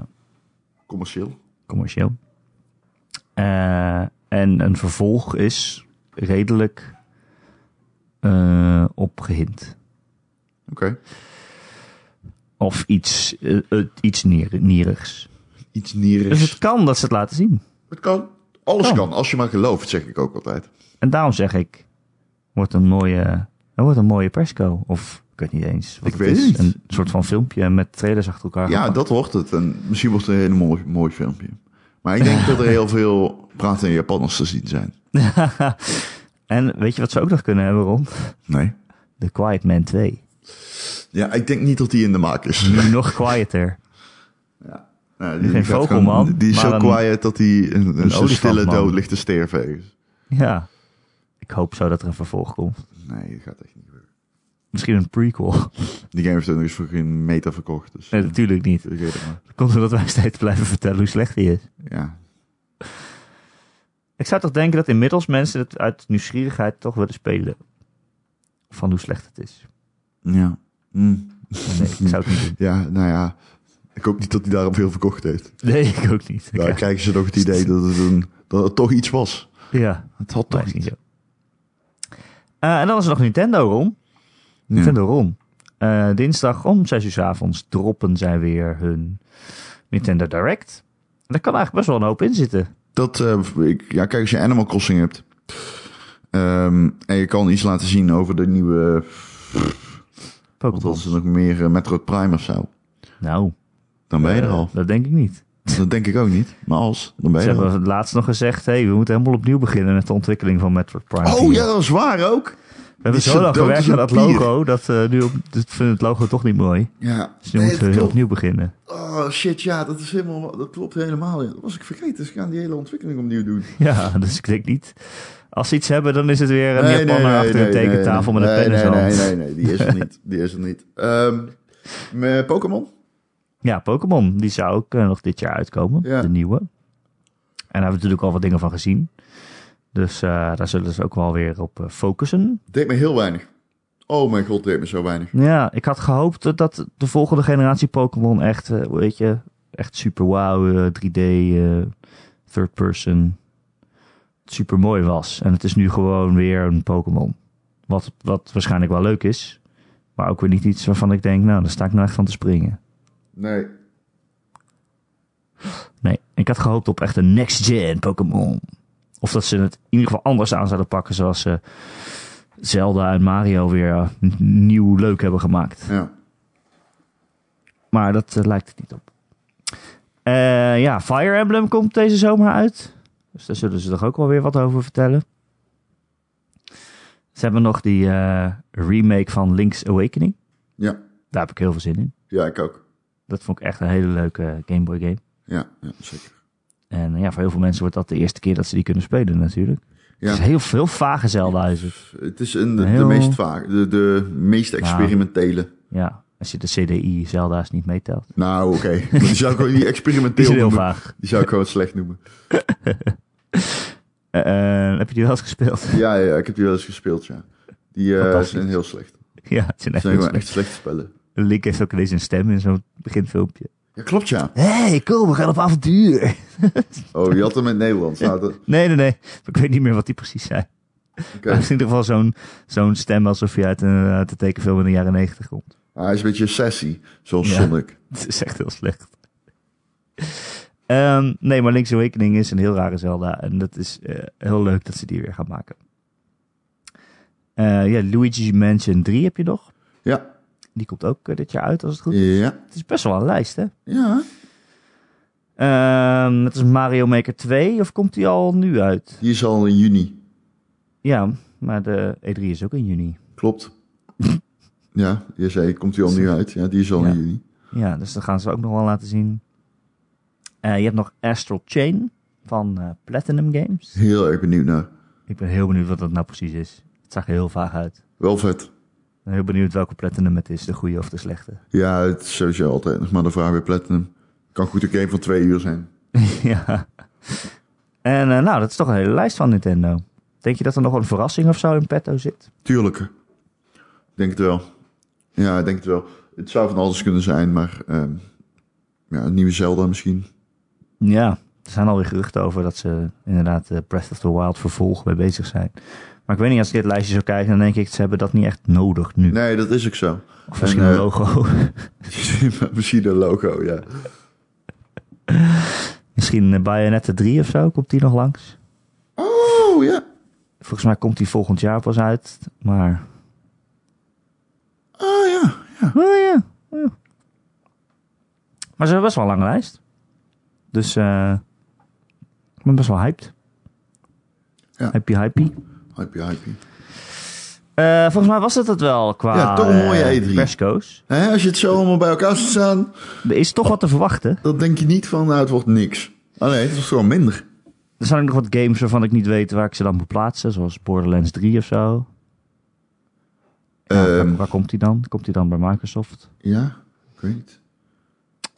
Speaker 2: Commercieel.
Speaker 1: commercieel. Eh, en een vervolg is redelijk eh, opgehind.
Speaker 2: Oké.
Speaker 1: Of iets, eh, eh, iets nier- nierigs.
Speaker 2: Iets nierigs.
Speaker 1: Dus het Oh. kan dat ze het laten zien.
Speaker 2: Het kan. Alles
Speaker 1: Kan.
Speaker 2: kan, als je maar gelooft, zeg ik ook altijd.
Speaker 1: En daarom zeg ik, wordt een mooie, er wordt een mooie persco. Of ik weet niet eens wat
Speaker 2: Ik
Speaker 1: het
Speaker 2: weet
Speaker 1: is.
Speaker 2: het niet.
Speaker 1: Een soort van filmpje met trailers achter elkaar.
Speaker 2: Ja, dat wordt het. En misschien wordt het een hele mooi, mooi filmpje. Maar ik denk dat er heel veel pratende Japanners te zien zijn.
Speaker 1: en weet je wat ze ook nog kunnen hebben, Ron?
Speaker 2: Nee.
Speaker 1: The Quiet Man 2.
Speaker 2: Ja, ik denk niet dat die in de maak is.
Speaker 1: Nu nog quieter.
Speaker 2: Nou, die,
Speaker 1: Geen
Speaker 2: gaat
Speaker 1: vogelman,
Speaker 2: gewoon- Die is
Speaker 1: maar
Speaker 2: zo
Speaker 1: een-
Speaker 2: quiet dat hij een, een, zo
Speaker 1: olifantman.
Speaker 2: stille dood ligt te sterven. ergens.
Speaker 1: Ja. Ik hoop zo dat er een vervolg komt.
Speaker 2: Nee, dat gaat echt niet gebeuren.
Speaker 1: Misschien een prequel.
Speaker 2: Die game heeft er nog eens voor geen meter verkocht. Dus
Speaker 1: Nee, natuurlijk niet.
Speaker 2: ik weet het maar.
Speaker 1: Dat komt omdat wij steeds blijven vertellen hoe slecht hij is.
Speaker 2: Ja.
Speaker 1: Ik zou toch denken dat inmiddels mensen het uit nieuwsgierigheid toch willen spelen. Van hoe slecht het is.
Speaker 2: Ja. Hm.
Speaker 1: Maar Nee, ik zou het niet doen.
Speaker 2: ja, nou ja. Ik hoop niet dat hij daarom veel verkocht heeft.
Speaker 1: Nee, ik ook niet.
Speaker 2: Dan krijgen ze toch het idee dat het, een, dat het toch iets was.
Speaker 1: Ja.
Speaker 2: Het had
Speaker 1: Dat is niet zo. Eh, en dan is er nog Nintendo Ron. Nintendo Ron. Eh, dinsdag om 6 uur 's avonds droppen zij weer hun Nintendo Direct. En daar kan eigenlijk best wel een hoop in zitten.
Speaker 2: Dat, eh, ik, ja, kijk, als je Animal Crossing hebt. ehm, en je kan iets laten zien over de nieuwe. Wat
Speaker 1: Pokémon.
Speaker 2: was er nog meer? eh, Metroid Prime of zo.
Speaker 1: Nou,
Speaker 2: Dan ben je er
Speaker 1: eh,
Speaker 2: al.
Speaker 1: dat denk ik niet.
Speaker 2: Dat denk ik ook niet. Maar als, dan ben
Speaker 1: Ze
Speaker 2: je er
Speaker 1: hebben
Speaker 2: al.
Speaker 1: het laatst nog gezegd, hey, we moeten helemaal opnieuw beginnen met de ontwikkeling van Metroid Prime.
Speaker 2: Oh
Speaker 1: 4.
Speaker 2: ja, dat is waar ook.
Speaker 1: we hebben
Speaker 2: die
Speaker 1: zo lang
Speaker 2: is zo dood
Speaker 1: gewerkt aan dat
Speaker 2: als een pier.
Speaker 1: logo, dat eh, nu op, dat vinden het logo toch niet mooi.
Speaker 2: Ja.
Speaker 1: Dus nu
Speaker 2: Nee,
Speaker 1: moeten we
Speaker 2: dat
Speaker 1: heel
Speaker 2: klopt.
Speaker 1: opnieuw beginnen.
Speaker 2: Oh shit, ja, dat is helemaal. Dat klopt helemaal. Dat was ik vergeten. Ze gaan die hele ontwikkeling opnieuw doen.
Speaker 1: Ja, dus ik denk niet. Als ze iets hebben, dan is het weer een Japaner achter een
Speaker 2: nee,
Speaker 1: tekentafel
Speaker 2: nee,
Speaker 1: met een pen in
Speaker 2: nee,
Speaker 1: zijn
Speaker 2: nee,
Speaker 1: hand.
Speaker 2: nee, nee, nee, die is er niet. Die is er niet. Ehm, met Pokémon?
Speaker 1: Ja, Pokémon, die zou ook eh, nog dit jaar uitkomen,
Speaker 2: Ja.
Speaker 1: de nieuwe. En daar hebben we natuurlijk al wat dingen van gezien. Dus eh, daar zullen ze ook wel weer op eh, focussen.
Speaker 2: Deed me heel weinig. Oh mijn god, deed me zo weinig.
Speaker 1: Ja, ik had gehoopt dat- dat de volgende generatie Pokémon echt, eh, weet je, echt super wauw, eh, 3D, eh, third person, super mooi was. En het is nu gewoon weer een Pokémon. Wat, wat waarschijnlijk wel leuk is, maar ook weer niet iets waarvan ik denk, nou, daar sta ik nou echt van te springen.
Speaker 2: Nee.
Speaker 1: Nee, ik had gehoopt op echt een next-gen Pokémon. Of dat ze het in ieder geval anders aan zouden pakken, zoals ze Zelda en Mario weer eh, n- nieuw leuk hebben gemaakt.
Speaker 2: Ja.
Speaker 1: Maar dat eh, lijkt het niet op. Eh, ja, Fire Emblem komt deze zomer uit. Dus daar zullen ze toch ook wel weer wat over vertellen. Ze hebben nog die eh, remake van Link's Awakening.
Speaker 2: Ja.
Speaker 1: Daar heb ik heel veel zin in.
Speaker 2: Ja, ik ook.
Speaker 1: Dat vond ik echt een hele leuke eh, Game Boy game.
Speaker 2: Ja, ja zeker.
Speaker 1: En eh, ja, voor heel veel mensen wordt dat de eerste keer dat ze die kunnen spelen natuurlijk.
Speaker 2: Ja.
Speaker 1: Het is heel veel vage Zelda is het.
Speaker 2: Het is een, de, de
Speaker 1: Heel- Nou.
Speaker 2: meest vaak, de, de meest experimentele.
Speaker 1: Ja, als je de CDI Zelda's niet meetelt.
Speaker 2: Nou, oké. Maar Die zou ik gewoon niet
Speaker 1: Die
Speaker 2: experimenteel
Speaker 1: is heel
Speaker 2: noemen.
Speaker 1: vaag.
Speaker 2: Die zou ik gewoon slecht noemen.
Speaker 1: Eh, eh, heb je die wel eens gespeeld?
Speaker 2: Ja, ja, ik heb die wel eens gespeeld, ja. Die eh,
Speaker 1: Fantastisch.
Speaker 2: zijn heel slecht. Dat
Speaker 1: ja, het zijn echt
Speaker 2: zijn
Speaker 1: heel
Speaker 2: gewoon
Speaker 1: slecht.
Speaker 2: echt slechte spellen.
Speaker 1: Link heeft ook ineens een stem in zo'n beginfilmpje.
Speaker 2: Ja, klopt, ja.
Speaker 1: Hé, hey, kom, we gaan op avontuur.
Speaker 2: Oh, je had hem in het Nederlands. Nou, dat,
Speaker 1: Nee, nee, nee. Ik weet niet meer wat die precies zei.
Speaker 2: oké.
Speaker 1: Maar het is in ieder geval zo'n zo'n stem alsof je uit een, uit een tekenfilm in de jaren negentig komt.
Speaker 2: Maar Ah, hij is een beetje sassy, zoals
Speaker 1: Ja.
Speaker 2: Sonic.
Speaker 1: Het is echt heel slecht. Ehm, nee, maar Link's Awakening is een heel rare Zelda. En dat is eh, heel leuk dat ze die weer gaan maken. Eh, ja, Luigi's Mansion 3 heb je nog.
Speaker 2: Ja,
Speaker 1: Die komt ook eh, dit jaar uit, als het goed is.
Speaker 2: ja,
Speaker 1: Het is best wel een lijst, hè?
Speaker 2: ja.
Speaker 1: Ehm, dat is Mario Maker 2, of komt die al nu uit?
Speaker 2: Die is al in juni.
Speaker 1: Ja, maar de E3 is ook in juni.
Speaker 2: Klopt. Ja, je zei, komt die al nu uit? Ja, die is al
Speaker 1: Ja.
Speaker 2: in juni.
Speaker 1: Ja, dus dat gaan ze ook nog wel laten zien. Eh, je hebt nog Astral Chain van eh, Platinum Games.
Speaker 2: Heel erg benieuwd naar.
Speaker 1: Ik ben heel benieuwd wat dat nou precies is. Het zag er heel vaag uit.
Speaker 2: Wel vet.
Speaker 1: Ik ben heel benieuwd welke Platinum het is, de goede of de slechte.
Speaker 2: Ja, het is sowieso altijd nog maar de vraag bij Platinum. Kan goed een game van twee uur zijn.
Speaker 1: ja. En eh, nou, dat is toch een hele lijst van Nintendo. Denk je dat er nog een verrassing of zo in petto zit?
Speaker 2: Tuurlijk. Ik Denk het wel. Ja, ik denk het wel. Het zou van alles kunnen zijn, maar... ehm, ja, een nieuwe Zelda misschien.
Speaker 1: Ja, er zijn alweer geruchten over dat ze inderdaad eh, Breath of the Wild vervolg mee bezig zijn. Maar ik weet niet, als ik dit lijstje zou kijken, dan denk ik, ze hebben dat niet echt nodig nu.
Speaker 2: Nee, dat is ook zo.
Speaker 1: of misschien
Speaker 2: en,
Speaker 1: een
Speaker 2: eh,
Speaker 1: logo.
Speaker 2: misschien een logo, ja.
Speaker 1: misschien eh, Bayonetta 3 of zo, komt die nog langs?
Speaker 2: Oh, ja.
Speaker 1: Volgens mij komt die volgend jaar pas uit, maar...
Speaker 2: Oh, ja. ja.
Speaker 1: Oh ja. ja. Maar ze hebben best wel een lange lijst. Dus eh ik ben best wel hyped.
Speaker 2: Ja.
Speaker 1: Happy, happy.
Speaker 2: Hypey, hypey.
Speaker 1: Eh, volgens mij was het het wel qua
Speaker 2: Ja, toch een mooie E
Speaker 1: eh,
Speaker 2: E3.
Speaker 1: persco's.
Speaker 2: Hè, als je het zo allemaal bij elkaar ziet staan,
Speaker 1: Er is toch wat te verwachten.
Speaker 2: dan denk je niet van, nou, het wordt niks. Ah, nee, het was gewoon minder.
Speaker 1: Er zijn ook nog wat games waarvan ik niet weet waar ik ze dan moet plaatsen. Zoals Borderlands 3 of zo. Ja,
Speaker 2: Ehm.
Speaker 1: waar, waar komt die dan? Komt die dan bij Microsoft?
Speaker 2: Ja, ik weet niet.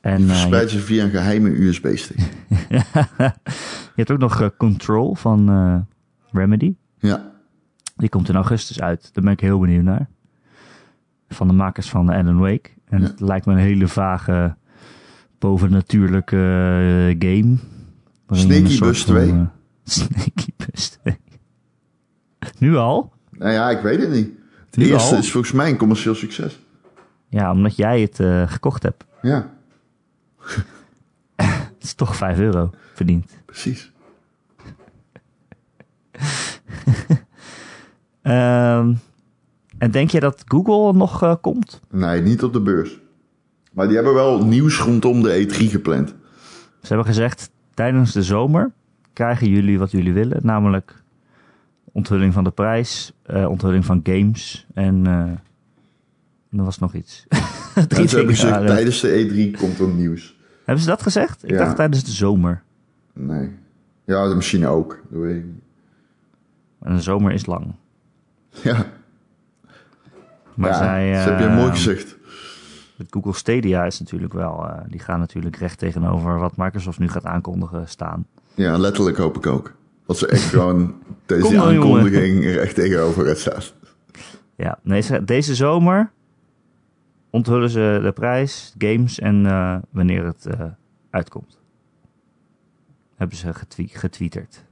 Speaker 1: En eh, je,
Speaker 2: Verspreid ze via een geheime USB-stick.
Speaker 1: je hebt ook nog eh, Control van eh, Remedy.
Speaker 2: Ja,
Speaker 1: Die komt in augustus uit. Daar ben ik heel benieuwd naar. Van de makers van eh, Alan Wake. En
Speaker 2: Ja.
Speaker 1: het lijkt me een hele vage, bovennatuurlijke eh, game. Waarin je
Speaker 2: Sneaky
Speaker 1: een soort
Speaker 2: Bus
Speaker 1: van,
Speaker 2: 2.
Speaker 1: eh, Sneaky Bus 2. Nu al?
Speaker 2: nou ja, ik weet het niet. Het
Speaker 1: Nu
Speaker 2: eerste
Speaker 1: al?
Speaker 2: is volgens mij een commercieel succes.
Speaker 1: Ja, omdat jij het eh, gekocht hebt.
Speaker 2: Ja,
Speaker 1: Het is toch 5 euro verdiend.
Speaker 2: precies.
Speaker 1: Ehm, en denk je dat Google nog eh, komt?
Speaker 2: Nee, niet op de beurs. Maar die hebben wel nieuws rondom de E3 gepland.
Speaker 1: Ze hebben gezegd, tijdens de zomer krijgen jullie wat jullie willen. Namelijk onthulling van de prijs, eh, onthulling van games en eh, er was nog iets. Drie
Speaker 2: En ze hebben
Speaker 1: dingen
Speaker 2: gezegd,
Speaker 1: waren-
Speaker 2: tijdens de E3 komt er nieuws.
Speaker 1: Hebben ze dat gezegd? Ik
Speaker 2: Ja.
Speaker 1: dacht tijdens de zomer.
Speaker 2: Nee. Ja, misschien ook. Dat weet ik niet.
Speaker 1: En de zomer is lang.
Speaker 2: Ja,
Speaker 1: Maar
Speaker 2: ja,
Speaker 1: zij,
Speaker 2: dat heb
Speaker 1: eh,
Speaker 2: je mooi gezegd.
Speaker 1: het Google Stadia is natuurlijk wel, eh, die gaan natuurlijk recht tegenover wat Microsoft nu gaat aankondigen staan.
Speaker 2: Ja, letterlijk hoop ik ook. Dat ze echt gewoon deze
Speaker 1: Kom dan, jongen.
Speaker 2: aankondiging er echt tegenover het staat.
Speaker 1: Ja, nee, ze- deze zomer onthullen ze de prijs, games en eh, wanneer het eh, uitkomt. Hebben ze getwe getweeterd.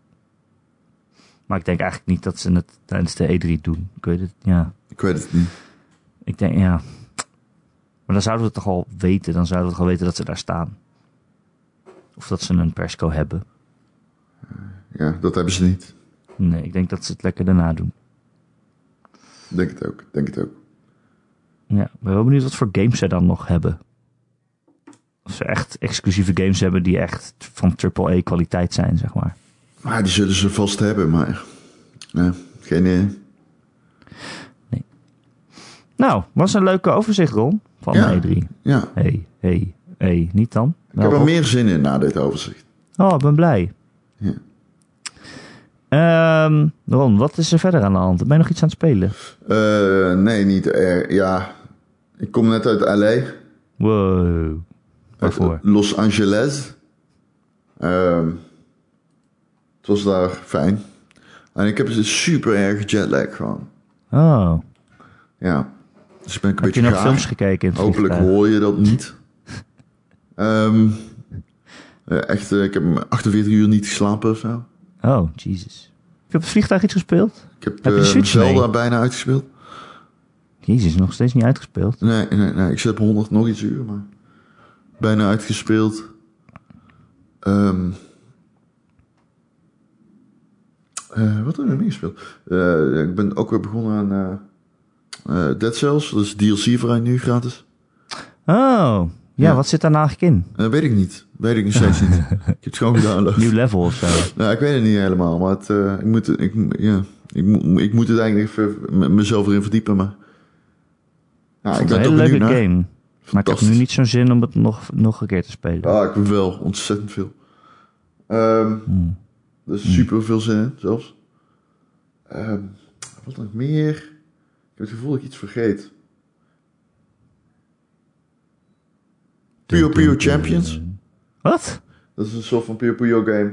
Speaker 1: Maar ik denk eigenlijk niet dat ze het tijdens de E3 doen. Ik weet het, ja.
Speaker 2: Ik weet het niet.
Speaker 1: Ik denk, ja. Maar dan zouden we het toch al weten. Dan zouden we toch al weten dat ze daar staan. Of dat ze een persco hebben.
Speaker 2: Ja, dat hebben ze niet.
Speaker 1: Nee, ik denk dat ze het lekker daarna doen.
Speaker 2: Ik Denk het ook. ik Denk het ook.
Speaker 1: Ja, ik ben wel benieuwd wat voor games zij dan nog hebben. Of ze echt exclusieve games hebben die echt van AAA kwaliteit zijn, zeg maar.
Speaker 2: Maar die zullen ze vast hebben, maar... Ja, geen... eh,
Speaker 1: Nou, was een leuke overzicht, Ron, van
Speaker 2: Ja.
Speaker 1: E3.
Speaker 2: Ja,
Speaker 1: Hé, hé, hé, niet dan?
Speaker 2: Ik heb er meer zin in na dit overzicht.
Speaker 1: Oh, ik ben blij.
Speaker 2: Ja.
Speaker 1: Ehm, Ron, wat is er verder aan de hand? Ben je nog iets aan het spelen?
Speaker 2: Eh, nee, niet erg. Ja, ik kom net uit L.A.
Speaker 1: Wow. Waarvoor?
Speaker 2: Uit Los Angeles. Ehm, het was daar fijn. En ik heb een super erg jetlag gewoon.
Speaker 1: Oh.
Speaker 2: Ja. Dus ik ben een
Speaker 1: Heb je
Speaker 2: Eh, beetje
Speaker 1: nog
Speaker 2: gaar.
Speaker 1: films gekeken in het
Speaker 2: Hopelijk
Speaker 1: vliegtuig?
Speaker 2: hoor je dat niet. Ehm, eh, echt, eh, ik heb 48 uur niet geslapen of zo.
Speaker 1: Oh, Jesus. Heb je op het vliegtuig iets gespeeld?
Speaker 2: Ik heb,
Speaker 1: Heb je de
Speaker 2: eh,
Speaker 1: Switch mee?
Speaker 2: Zelda bijna uitgespeeld.
Speaker 1: Jezus, nog steeds niet uitgespeeld.
Speaker 2: Nee, nee, nee. Ik zit op 100 nog iets uur, maar bijna uitgespeeld. Ehm eh, wat heb ik nog meer gespeeld? Eh, ik ben ook weer begonnen aan eh, eh, Dead Cells. Dat is DLC vrij nu, gratis.
Speaker 1: Oh. Ja,
Speaker 2: Ja.
Speaker 1: wat zit daar nou eigenlijk in?
Speaker 2: Eh, weet ik niet. Weet ik nog steeds niet. Ik heb het gewoon gedownload.
Speaker 1: Nieuw level of zo?
Speaker 2: Nou, ik weet het niet helemaal, maar het, eh, ik, moet, ik, ja, ik, moet- ik moet het eigenlijk even m- mezelf erin verdiepen. Maar... Ja, ik
Speaker 1: Het is
Speaker 2: ben
Speaker 1: een
Speaker 2: toch
Speaker 1: hele
Speaker 2: benieuwd
Speaker 1: leuke
Speaker 2: naar.
Speaker 1: game. Maar ik heb nu
Speaker 2: Fantastisch. Ah,
Speaker 1: niet zo'n zin om het nog, nog een keer te spelen.
Speaker 2: Ja, ik wel. Ontzettend veel. Ehm
Speaker 1: Hmm.
Speaker 2: Er is super veel zin in, zelfs. Ehm, wat nog meer? Ik heb het gevoel dat ik iets vergeet. Puyo Puyo Champions.
Speaker 1: Eh, Wat?
Speaker 2: Dat is een soort van Puyo Puyo game.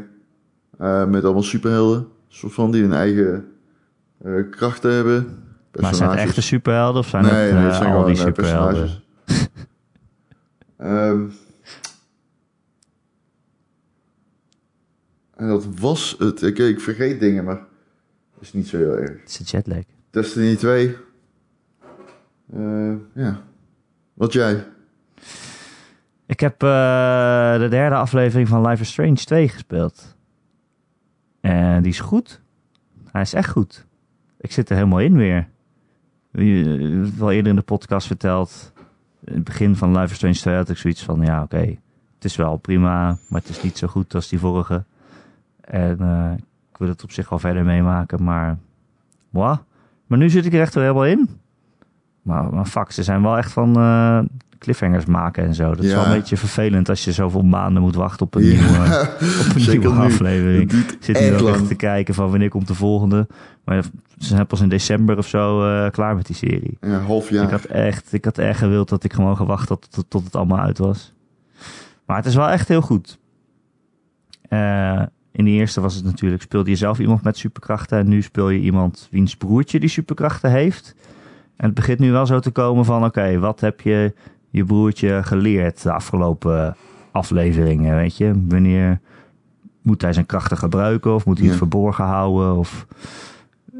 Speaker 2: Eh, met allemaal superhelden. Een soort van die hun eigen eh, krachten hebben.
Speaker 1: Maar zijn het
Speaker 2: Personages.
Speaker 1: echte superhelden of zijn het
Speaker 2: dat
Speaker 1: eh, al die superhelden?
Speaker 2: Ehm, en dat was het. Ik, ik vergeet dingen, maar is niet zo heel erg.
Speaker 1: Het is een jetlag.
Speaker 2: Destiny 2. Eh, ja. Wat jij?
Speaker 1: Ik heb eh, de derde aflevering van Life is Strange 2 gespeeld. En Eh, die is goed. Hij is echt goed. Ik zit er helemaal in weer. Je hebt al eerder in de podcast verteld. In het begin van Life is Strange 2 had ik zoiets van... Ja, oké. het is wel prima, maar het is niet zo goed als die vorige. En eh, ik wil het op zich wel verder meemaken, maar... Moi. Maar nu zit ik er echt wel helemaal in. Maar, maar fuck, ze zijn wel echt van eh, cliffhangers maken en zo. Dat is
Speaker 2: Ja.
Speaker 1: wel een beetje vervelend als je zoveel maanden moet wachten op een
Speaker 2: Ja.
Speaker 1: nieuwe, op een
Speaker 2: Zeker
Speaker 1: nieuwe
Speaker 2: nu.
Speaker 1: aflevering.
Speaker 2: Het duurt
Speaker 1: Ik zit nu
Speaker 2: erg
Speaker 1: wel
Speaker 2: lang.
Speaker 1: echt te kijken van wanneer komt de volgende. Maar ze zijn pas in december of zo eh, klaar met die serie.
Speaker 2: Ja, half jaar.
Speaker 1: Ik, had echt, ik had echt gewild dat ik gewoon gewacht had tot, tot het allemaal uit was. Maar het is wel echt heel goed. Eh, in de eerste was het natuurlijk, speelde je zelf iemand met superkrachten. En nu speel je iemand wiens broertje die superkrachten heeft. En het begint nu wel zo te komen van, oké, wat heb je je broertje geleerd de afgelopen afleveringen, weet je? Wanneer moet hij zijn krachten gebruiken of moet hij het
Speaker 2: Ja.
Speaker 1: verborgen houden? Of...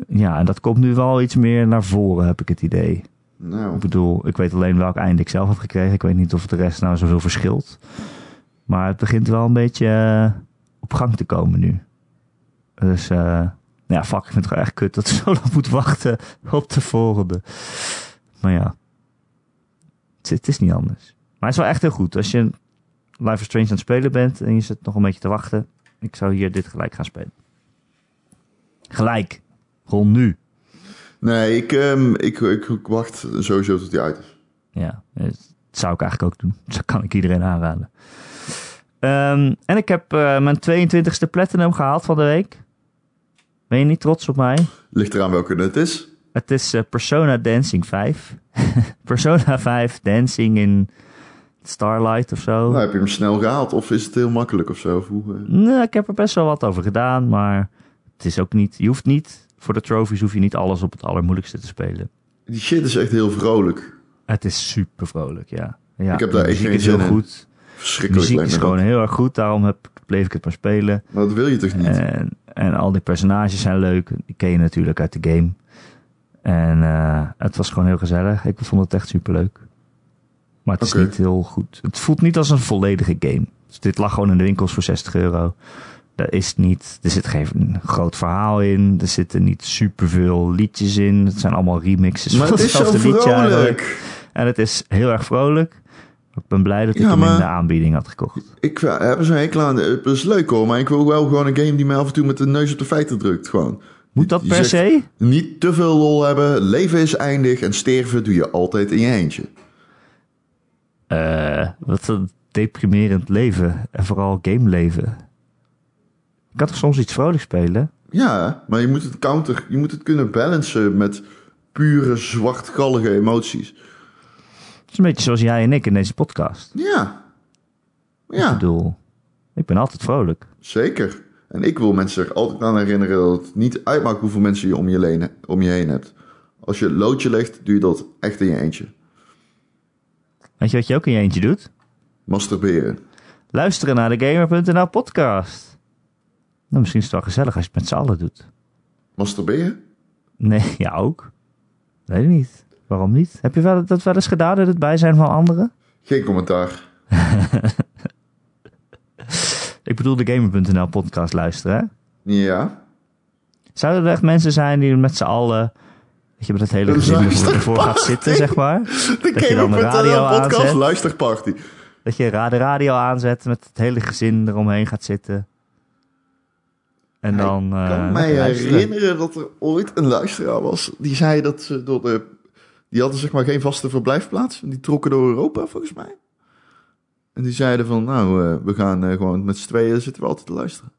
Speaker 1: Ja, en dat komt nu wel iets meer naar voren, heb ik het idee.
Speaker 2: Nou,
Speaker 1: Ik bedoel, ik weet alleen welk einde ik zelf heb gekregen. Ik weet niet of de rest nou zoveel verschilt. Maar het begint wel een beetje eh, op gang te komen nu. Dus, eh, nou ja, fuck, ik vind het gewoon echt kut dat ik zo lang moet wachten op de volgende. Maar ja, het, het is niet anders. Maar het is wel echt heel goed. Als je Life is Strange aan het spelen bent en je zit nog een beetje te wachten. Ik zou hier dit gelijk gaan spelen. Gelijk. Gewoon nu.
Speaker 2: nee, ik, ehm, ik, ik, ik wacht sowieso tot die uit is.
Speaker 1: Ja, dat zou ik eigenlijk ook doen. Dat kan ik iedereen aanraden. Ehm, en ik heb eh, mijn 22e platinum gehaald van de week. Ben je niet trots op mij?
Speaker 2: Ligt eraan welke het is.
Speaker 1: Het is eh, Persona Dancing 5. Persona 5 Dancing in Starlight of zo.
Speaker 2: Nou, heb je hem snel gehaald of is het heel makkelijk of zo? Of hoe, eh?
Speaker 1: Nou, ik heb er best wel wat over gedaan, maar het is ook niet... Je hoeft niet, voor de trophies hoef je niet alles op het allermoeilijkste te spelen.
Speaker 2: Die shit is echt heel vrolijk.
Speaker 1: Het is super vrolijk, ja. ja
Speaker 2: Ik heb
Speaker 1: de
Speaker 2: daar echt
Speaker 1: muziek
Speaker 2: geen
Speaker 1: is heel
Speaker 2: zin in.
Speaker 1: goed. De
Speaker 2: Verschrikkelijk
Speaker 1: muziek
Speaker 2: lijkt
Speaker 1: is
Speaker 2: me
Speaker 1: gewoon
Speaker 2: dat.
Speaker 1: heel erg goed, daarom heb, ik- bleef ik het maar spelen.
Speaker 2: Maar dat wil je toch niet?
Speaker 1: En, en al die personages zijn leuk. Die ken je natuurlijk uit de game. En eh, het was gewoon heel gezellig. Ik vond het echt superleuk. Maar het is
Speaker 2: Oké.
Speaker 1: niet heel goed. Het voelt niet als een volledige game. Dus dit lag gewoon in de winkels voor 60 euro. Er, is niet, er zit geen groot verhaal in. Er zitten niet superveel liedjes in. Het zijn allemaal remixes
Speaker 2: maar
Speaker 1: van
Speaker 2: het is zo
Speaker 1: hetzelfde liedje eigenlijk.
Speaker 2: vrolijk.
Speaker 1: En het is heel erg vrolijk. Ik ben blij dat ik
Speaker 2: Ja,
Speaker 1: hem in
Speaker 2: maar-
Speaker 1: de aanbieding had gekocht.
Speaker 2: Ik eh, heb er zo'n hekel aan. Het is leuk hoor, maar ik wil wel gewoon een game die mij af en toe met de neus op de feiten drukt. Gewoon.
Speaker 1: Moet dat
Speaker 2: Je
Speaker 1: per
Speaker 2: zegt,
Speaker 1: se?
Speaker 2: Niet te veel lol hebben, leven is eindig en sterven doe je altijd in je eentje.
Speaker 1: Eh, wat, deprimerend leven. En vooral gameleven. Ik kan toch soms iets vrolijks spelen?
Speaker 2: Ja, maar je moet het counter, je moet het kunnen balancen met pure zwartgallige emoties.
Speaker 1: Het is een beetje zoals jij en ik in deze podcast.
Speaker 2: Ja.
Speaker 1: Ik
Speaker 2: Ja,
Speaker 1: bedoel, ik ben altijd vrolijk.
Speaker 2: zeker. En ik wil mensen er altijd aan herinneren dat het niet uitmaakt hoeveel mensen je om je, leen, om je heen hebt. Als je het loodje legt, doe je dat echt in je eentje.
Speaker 1: Weet je wat je ook in je eentje doet?
Speaker 2: Masturberen.
Speaker 1: Luisteren naar de Gamer.nl podcast. Nou, misschien is het wel gezellig als je het met z'n allen doet.
Speaker 2: Masturberen?
Speaker 1: Nee, ja ook. Weet ik niet. Waarom niet? Heb je wel, dat wel eens gedaan in het bijzijn van anderen?
Speaker 2: Geen commentaar.
Speaker 1: Ik bedoel de Gamer.nl podcast luisteren, hè?
Speaker 2: Ja.
Speaker 1: Zouden er echt mensen zijn die met z'n allen... Weet je, met het hele
Speaker 2: Een
Speaker 1: gezin ervoor,
Speaker 2: luisterpartij.
Speaker 1: ervoor gaat zitten, zeg maar.
Speaker 2: De
Speaker 1: je dan de radio Eh,
Speaker 2: Gamer.nl eh, podcast
Speaker 1: aanzet.
Speaker 2: luisterparty.
Speaker 1: Dat je ra- de radio aanzet, met het hele gezin eromheen gaat zitten. En dan...
Speaker 2: Ik kan
Speaker 1: eh,
Speaker 2: mij
Speaker 1: lekker luisteren.
Speaker 2: herinneren dat er ooit een luisteraar was die zei dat ze door de. Die hadden zeg maar geen vaste verblijfplaats. en Die trokken door Europa volgens mij. En die zeiden van, nou, eh, we gaan eh, gewoon met z'n tweeën zitten we altijd te luisteren.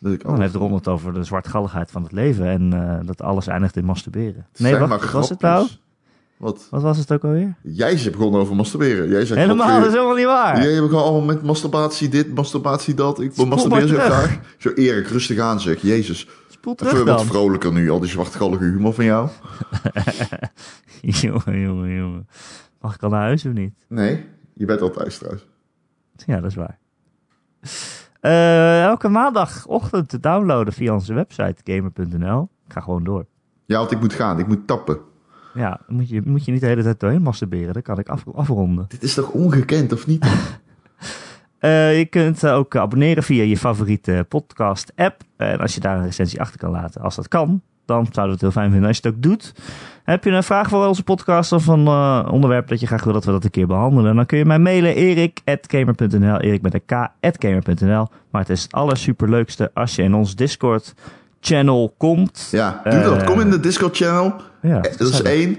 Speaker 2: Dat ik
Speaker 1: Dan
Speaker 2: oh,
Speaker 1: heeft Ron het over de zwartgalligheid van het leven en eh, dat alles eindigt in masturberen.
Speaker 2: het
Speaker 1: Nee,
Speaker 2: zijn
Speaker 1: wacht,
Speaker 2: maar
Speaker 1: wat was het
Speaker 2: grapjes.
Speaker 1: nou?
Speaker 2: Wat?
Speaker 1: Wat was het ook alweer?
Speaker 2: Jij is begonnen over masturberen. Jij zegt
Speaker 1: Helemaal,
Speaker 2: dat
Speaker 1: dat is
Speaker 2: weer-
Speaker 1: helemaal niet waar.
Speaker 2: Jij begon allemaal met masturbatie dit, masturbatie dat. Ik
Speaker 1: Spoel
Speaker 2: masturbeer
Speaker 1: maar
Speaker 2: zo
Speaker 1: terug.
Speaker 2: graag. Zo Erik, rustig aan zeg. Jezus,
Speaker 1: Spoel terug
Speaker 2: even wat
Speaker 1: dan.
Speaker 2: vrolijker nu. Al die zwartgallige humor van jou.
Speaker 1: jongen, jongen, jongen. Mag ik al naar huis of niet?
Speaker 2: Nee, je bent al thuis trouwens.
Speaker 1: Ja, dat is waar. Eh, elke maandagochtend te downloaden via onze website gamer.nl. Ik ga gewoon door.
Speaker 2: Ja, want ik moet gaan. Ik moet tappen.
Speaker 1: Ja, dan moet je, moet je niet de hele tijd doorheen masturberen. Dan kan ik af, afronden.
Speaker 2: Dit is toch ongekend, of niet?
Speaker 1: Eh, je kunt eh, ook abonneren via je favoriete podcast-app. En als je daar een recensie achter kan laten, als dat kan, dan zouden we het heel fijn vinden als je het ook doet. Heb je een vraag voor onze podcast of een eh, onderwerp dat je graag wil dat we dat een keer behandelen? Dan kun je mij mailen erik.gamer.nl, erik met een k, at gamer.nl. Maar het is het allersuperleukste als je in ons Discord-channel komt.
Speaker 2: Ja, doe dat. Kom in de Discord-channel.
Speaker 1: Ja,
Speaker 2: Eh, Dat is
Speaker 1: gezellig.
Speaker 2: één.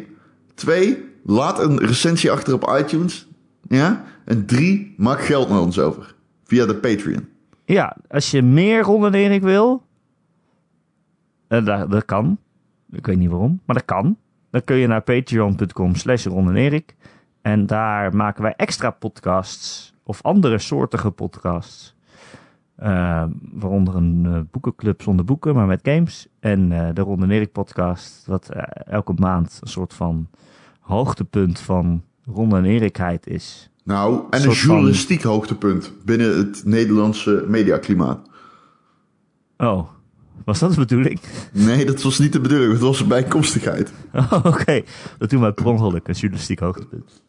Speaker 2: Twee, laat een recensie achter op iTunes. Ja? En drie, maak geld naar ons over. Via de Patreon.
Speaker 1: Ja, als je meer Ron en Erik wil, eh, dat, dat kan. Ik weet niet waarom, maar dat kan. Dan kun je naar patreon.com slash Ron en Erik. En daar maken wij extra podcasts of andere soortige podcasts. Eh, waaronder een eh, boekenclub zonder boeken, maar met games. En eh, de Ron en Erik podcast, wat eh, elke maand een soort van hoogtepunt van Ron en Erikheid is.
Speaker 2: Nou, en een
Speaker 1: soort van-
Speaker 2: journalistiek hoogtepunt binnen het Nederlandse mediaklimaat.
Speaker 1: Oh, was dat de bedoeling?
Speaker 2: Nee, dat was niet de bedoeling. Het was een bijkomstigheid.
Speaker 1: Oh, Oké, dat doen wij per ongeluk, een journalistiek hoogtepunt.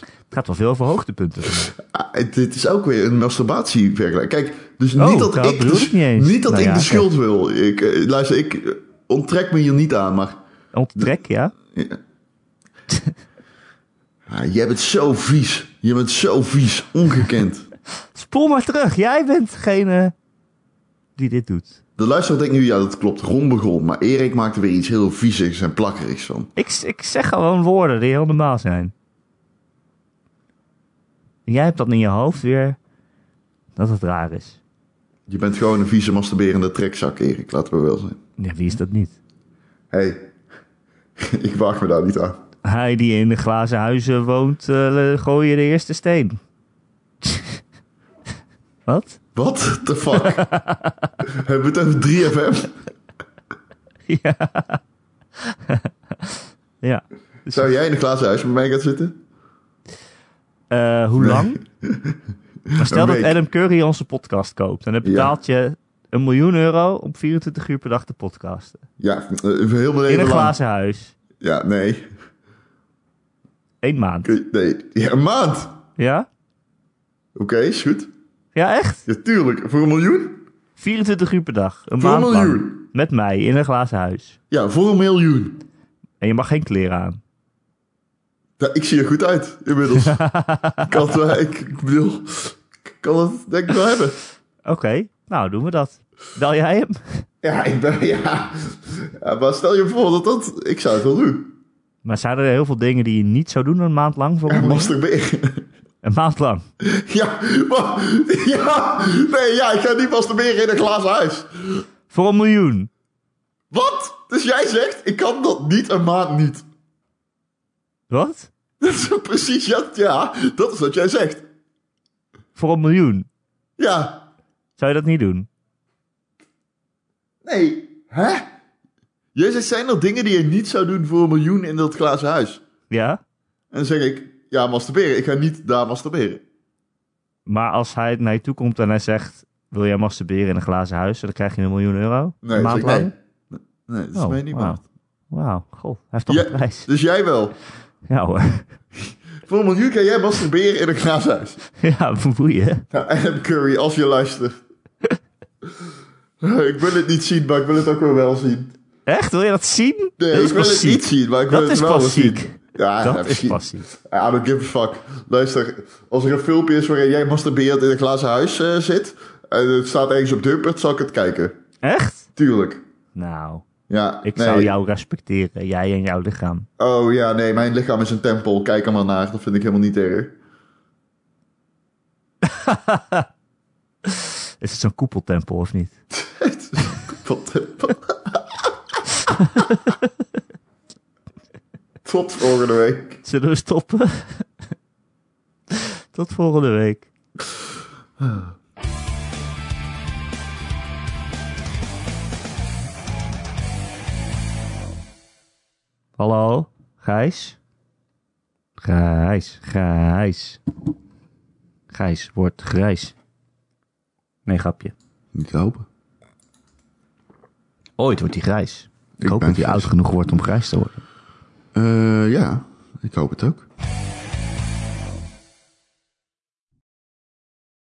Speaker 1: Het gaat wel veel over hoogtepunten.
Speaker 2: Ah, het- dit is ook weer een masturbatie vergelijk. Kijk, dus
Speaker 1: Oh,
Speaker 2: niet dat
Speaker 1: dat
Speaker 2: ik,
Speaker 1: bedoel
Speaker 2: dus,
Speaker 1: ik niet eens.
Speaker 2: dat
Speaker 1: Nou
Speaker 2: ik
Speaker 1: ja,
Speaker 2: de
Speaker 1: kijk.
Speaker 2: schuld wil. Ik, eh, luister, ik eh, onttrek me hier niet aan, maar...
Speaker 1: Onttrek, ja?
Speaker 2: Ja. Ah, jij bent zo vies. Je bent zo vies. Ongekend.
Speaker 1: Spoel maar terug, jij bent degene die dit doet.
Speaker 2: De luisteraar denkt nu, ja dat klopt, Ron begon. Maar Erik maakte weer iets heel viesigs en plakkerigs van.
Speaker 1: Ik, ik zeg gewoon woorden die heel normaal zijn. En Jij hebt dat in je hoofd weer, dat het raar is.
Speaker 2: Je bent gewoon een vieze masturberende trekzak, Erik. Laten we wel zijn.
Speaker 1: Ja, wie is dat niet?
Speaker 2: Hé, hey, ik waag me daar niet aan.
Speaker 1: Hij die in de glazen huizen woont, eh gooi je de eerste steen. Wat?
Speaker 2: What the fuck? Hebben we het over 3FM?
Speaker 1: Ja.
Speaker 2: Zou jij in een glazen huis met mij gaan zitten?
Speaker 1: Eh, hoe lang? Maar stel
Speaker 2: Een
Speaker 1: dat
Speaker 2: week.
Speaker 1: Adam Curry onze podcast koopt. En dan betaalt je een miljoen euro om 24 uur per dag te podcasten.
Speaker 2: Ja, eh, heel mijn
Speaker 1: In
Speaker 2: leven
Speaker 1: een
Speaker 2: lang.
Speaker 1: glazen huis.
Speaker 2: Ja, nee.
Speaker 1: Eén maand.
Speaker 2: Nee, ja, een maand. Oké,
Speaker 1: Ja?
Speaker 2: is goed.
Speaker 1: Ja, echt?
Speaker 2: Ja, tuurlijk. Voor een miljoen?
Speaker 1: 24 uur per dag. Een
Speaker 2: Voor een
Speaker 1: maand lang.
Speaker 2: miljoen.
Speaker 1: Met mij in een glazen huis.
Speaker 2: Ja, voor een miljoen.
Speaker 1: En je mag geen kleren aan.
Speaker 2: Ja, ik zie er goed uit, inmiddels. ik, kan het, wel- ik, ik bedoel, ik kan het denk ik wel hebben.
Speaker 1: Oké, nou doen we dat. Bel jij hem?
Speaker 2: Ja, ik ben, ja. ja, maar stel je voor dat dat... Ik zou het wel doen.
Speaker 1: Maar zijn er heel veel dingen die je niet zou doen een maand lang voor
Speaker 2: Ja,
Speaker 1: een miljoen?
Speaker 2: masturberen.
Speaker 1: Een maand lang.
Speaker 2: Ja, maar, ja, nee, ja, ik ga niet masturberen in een glazen huis.
Speaker 1: Voor een miljoen.
Speaker 2: Wat? Dus jij zegt, ik kan dat niet een maand niet.
Speaker 1: Wat?
Speaker 2: Dat is precies, ja, ja, dat is wat jij zegt.
Speaker 1: Voor een miljoen.
Speaker 2: Ja,
Speaker 1: Zou je dat niet doen?
Speaker 2: nee, hè? Jij zegt, zijn er dingen die je niet zou doen voor een miljoen in dat glazen huis?
Speaker 1: Ja.
Speaker 2: En dan zeg ik, ja, masturberen. Ik ga niet daar masturberen.
Speaker 1: Maar als hij naar je toe komt en hij zegt... Wil jij masturberen in een glazen huis? Dan krijg je een miljoen euro.
Speaker 2: Nee,
Speaker 1: een
Speaker 2: dan
Speaker 1: maand
Speaker 2: zeg ik, nee.
Speaker 1: lang?
Speaker 2: Nee, dat is
Speaker 1: Oh,
Speaker 2: mij niet
Speaker 1: wauw.
Speaker 2: waard.
Speaker 1: Wauw, goh. Hij heeft toch
Speaker 2: Ja,
Speaker 1: een prijs.
Speaker 2: Dus jij wel.
Speaker 1: Ja hoor.
Speaker 2: Voor een miljoen kan jij masturberen in een glazen huis.
Speaker 1: ja, boeien.
Speaker 2: Nou, Adam Curry, als je luistert. ik wil het niet zien, maar ik wil het ook wel wel zien.
Speaker 1: Echt? Wil je dat zien?
Speaker 2: Nee, ik wil het
Speaker 1: klassiek.
Speaker 2: niet zien, maar ik wil
Speaker 1: Dat
Speaker 2: het
Speaker 1: is
Speaker 2: wel wel
Speaker 1: klassiek.
Speaker 2: zien. Ja, ja,
Speaker 1: Dat is
Speaker 2: misschien.
Speaker 1: passief.
Speaker 2: I don't give a fuck. Luister, als er een filmpje is waarin jij masturbeert in een glazen huis eh, zit... en het staat ergens op Dumpert, zal ik het kijken.
Speaker 1: Echt?
Speaker 2: Tuurlijk.
Speaker 1: Nou,
Speaker 2: Ja,
Speaker 1: ik
Speaker 2: nee.
Speaker 1: zou jou respecteren. Jij en jouw lichaam.
Speaker 2: Oh ja, nee, mijn lichaam is een tempel. Kijk er maar naar, dat vind ik helemaal niet erg.
Speaker 1: Is het zo'n koepeltempel of niet?
Speaker 2: Het is een koepeltempel. Tot volgende week.
Speaker 1: Zullen we stoppen? Tot volgende week. Hallo, Gijs? Gijs, Gijs. Gijs wordt grijs. Nee, grapje.
Speaker 2: Niet hopen.
Speaker 1: Ooit wordt hij grijs. Ik,
Speaker 2: Ik
Speaker 1: hoop
Speaker 2: ben
Speaker 1: dat hij
Speaker 2: grijs.
Speaker 1: oud genoeg wordt om grijs te worden.
Speaker 2: Eh, ja, ik hoop het ook.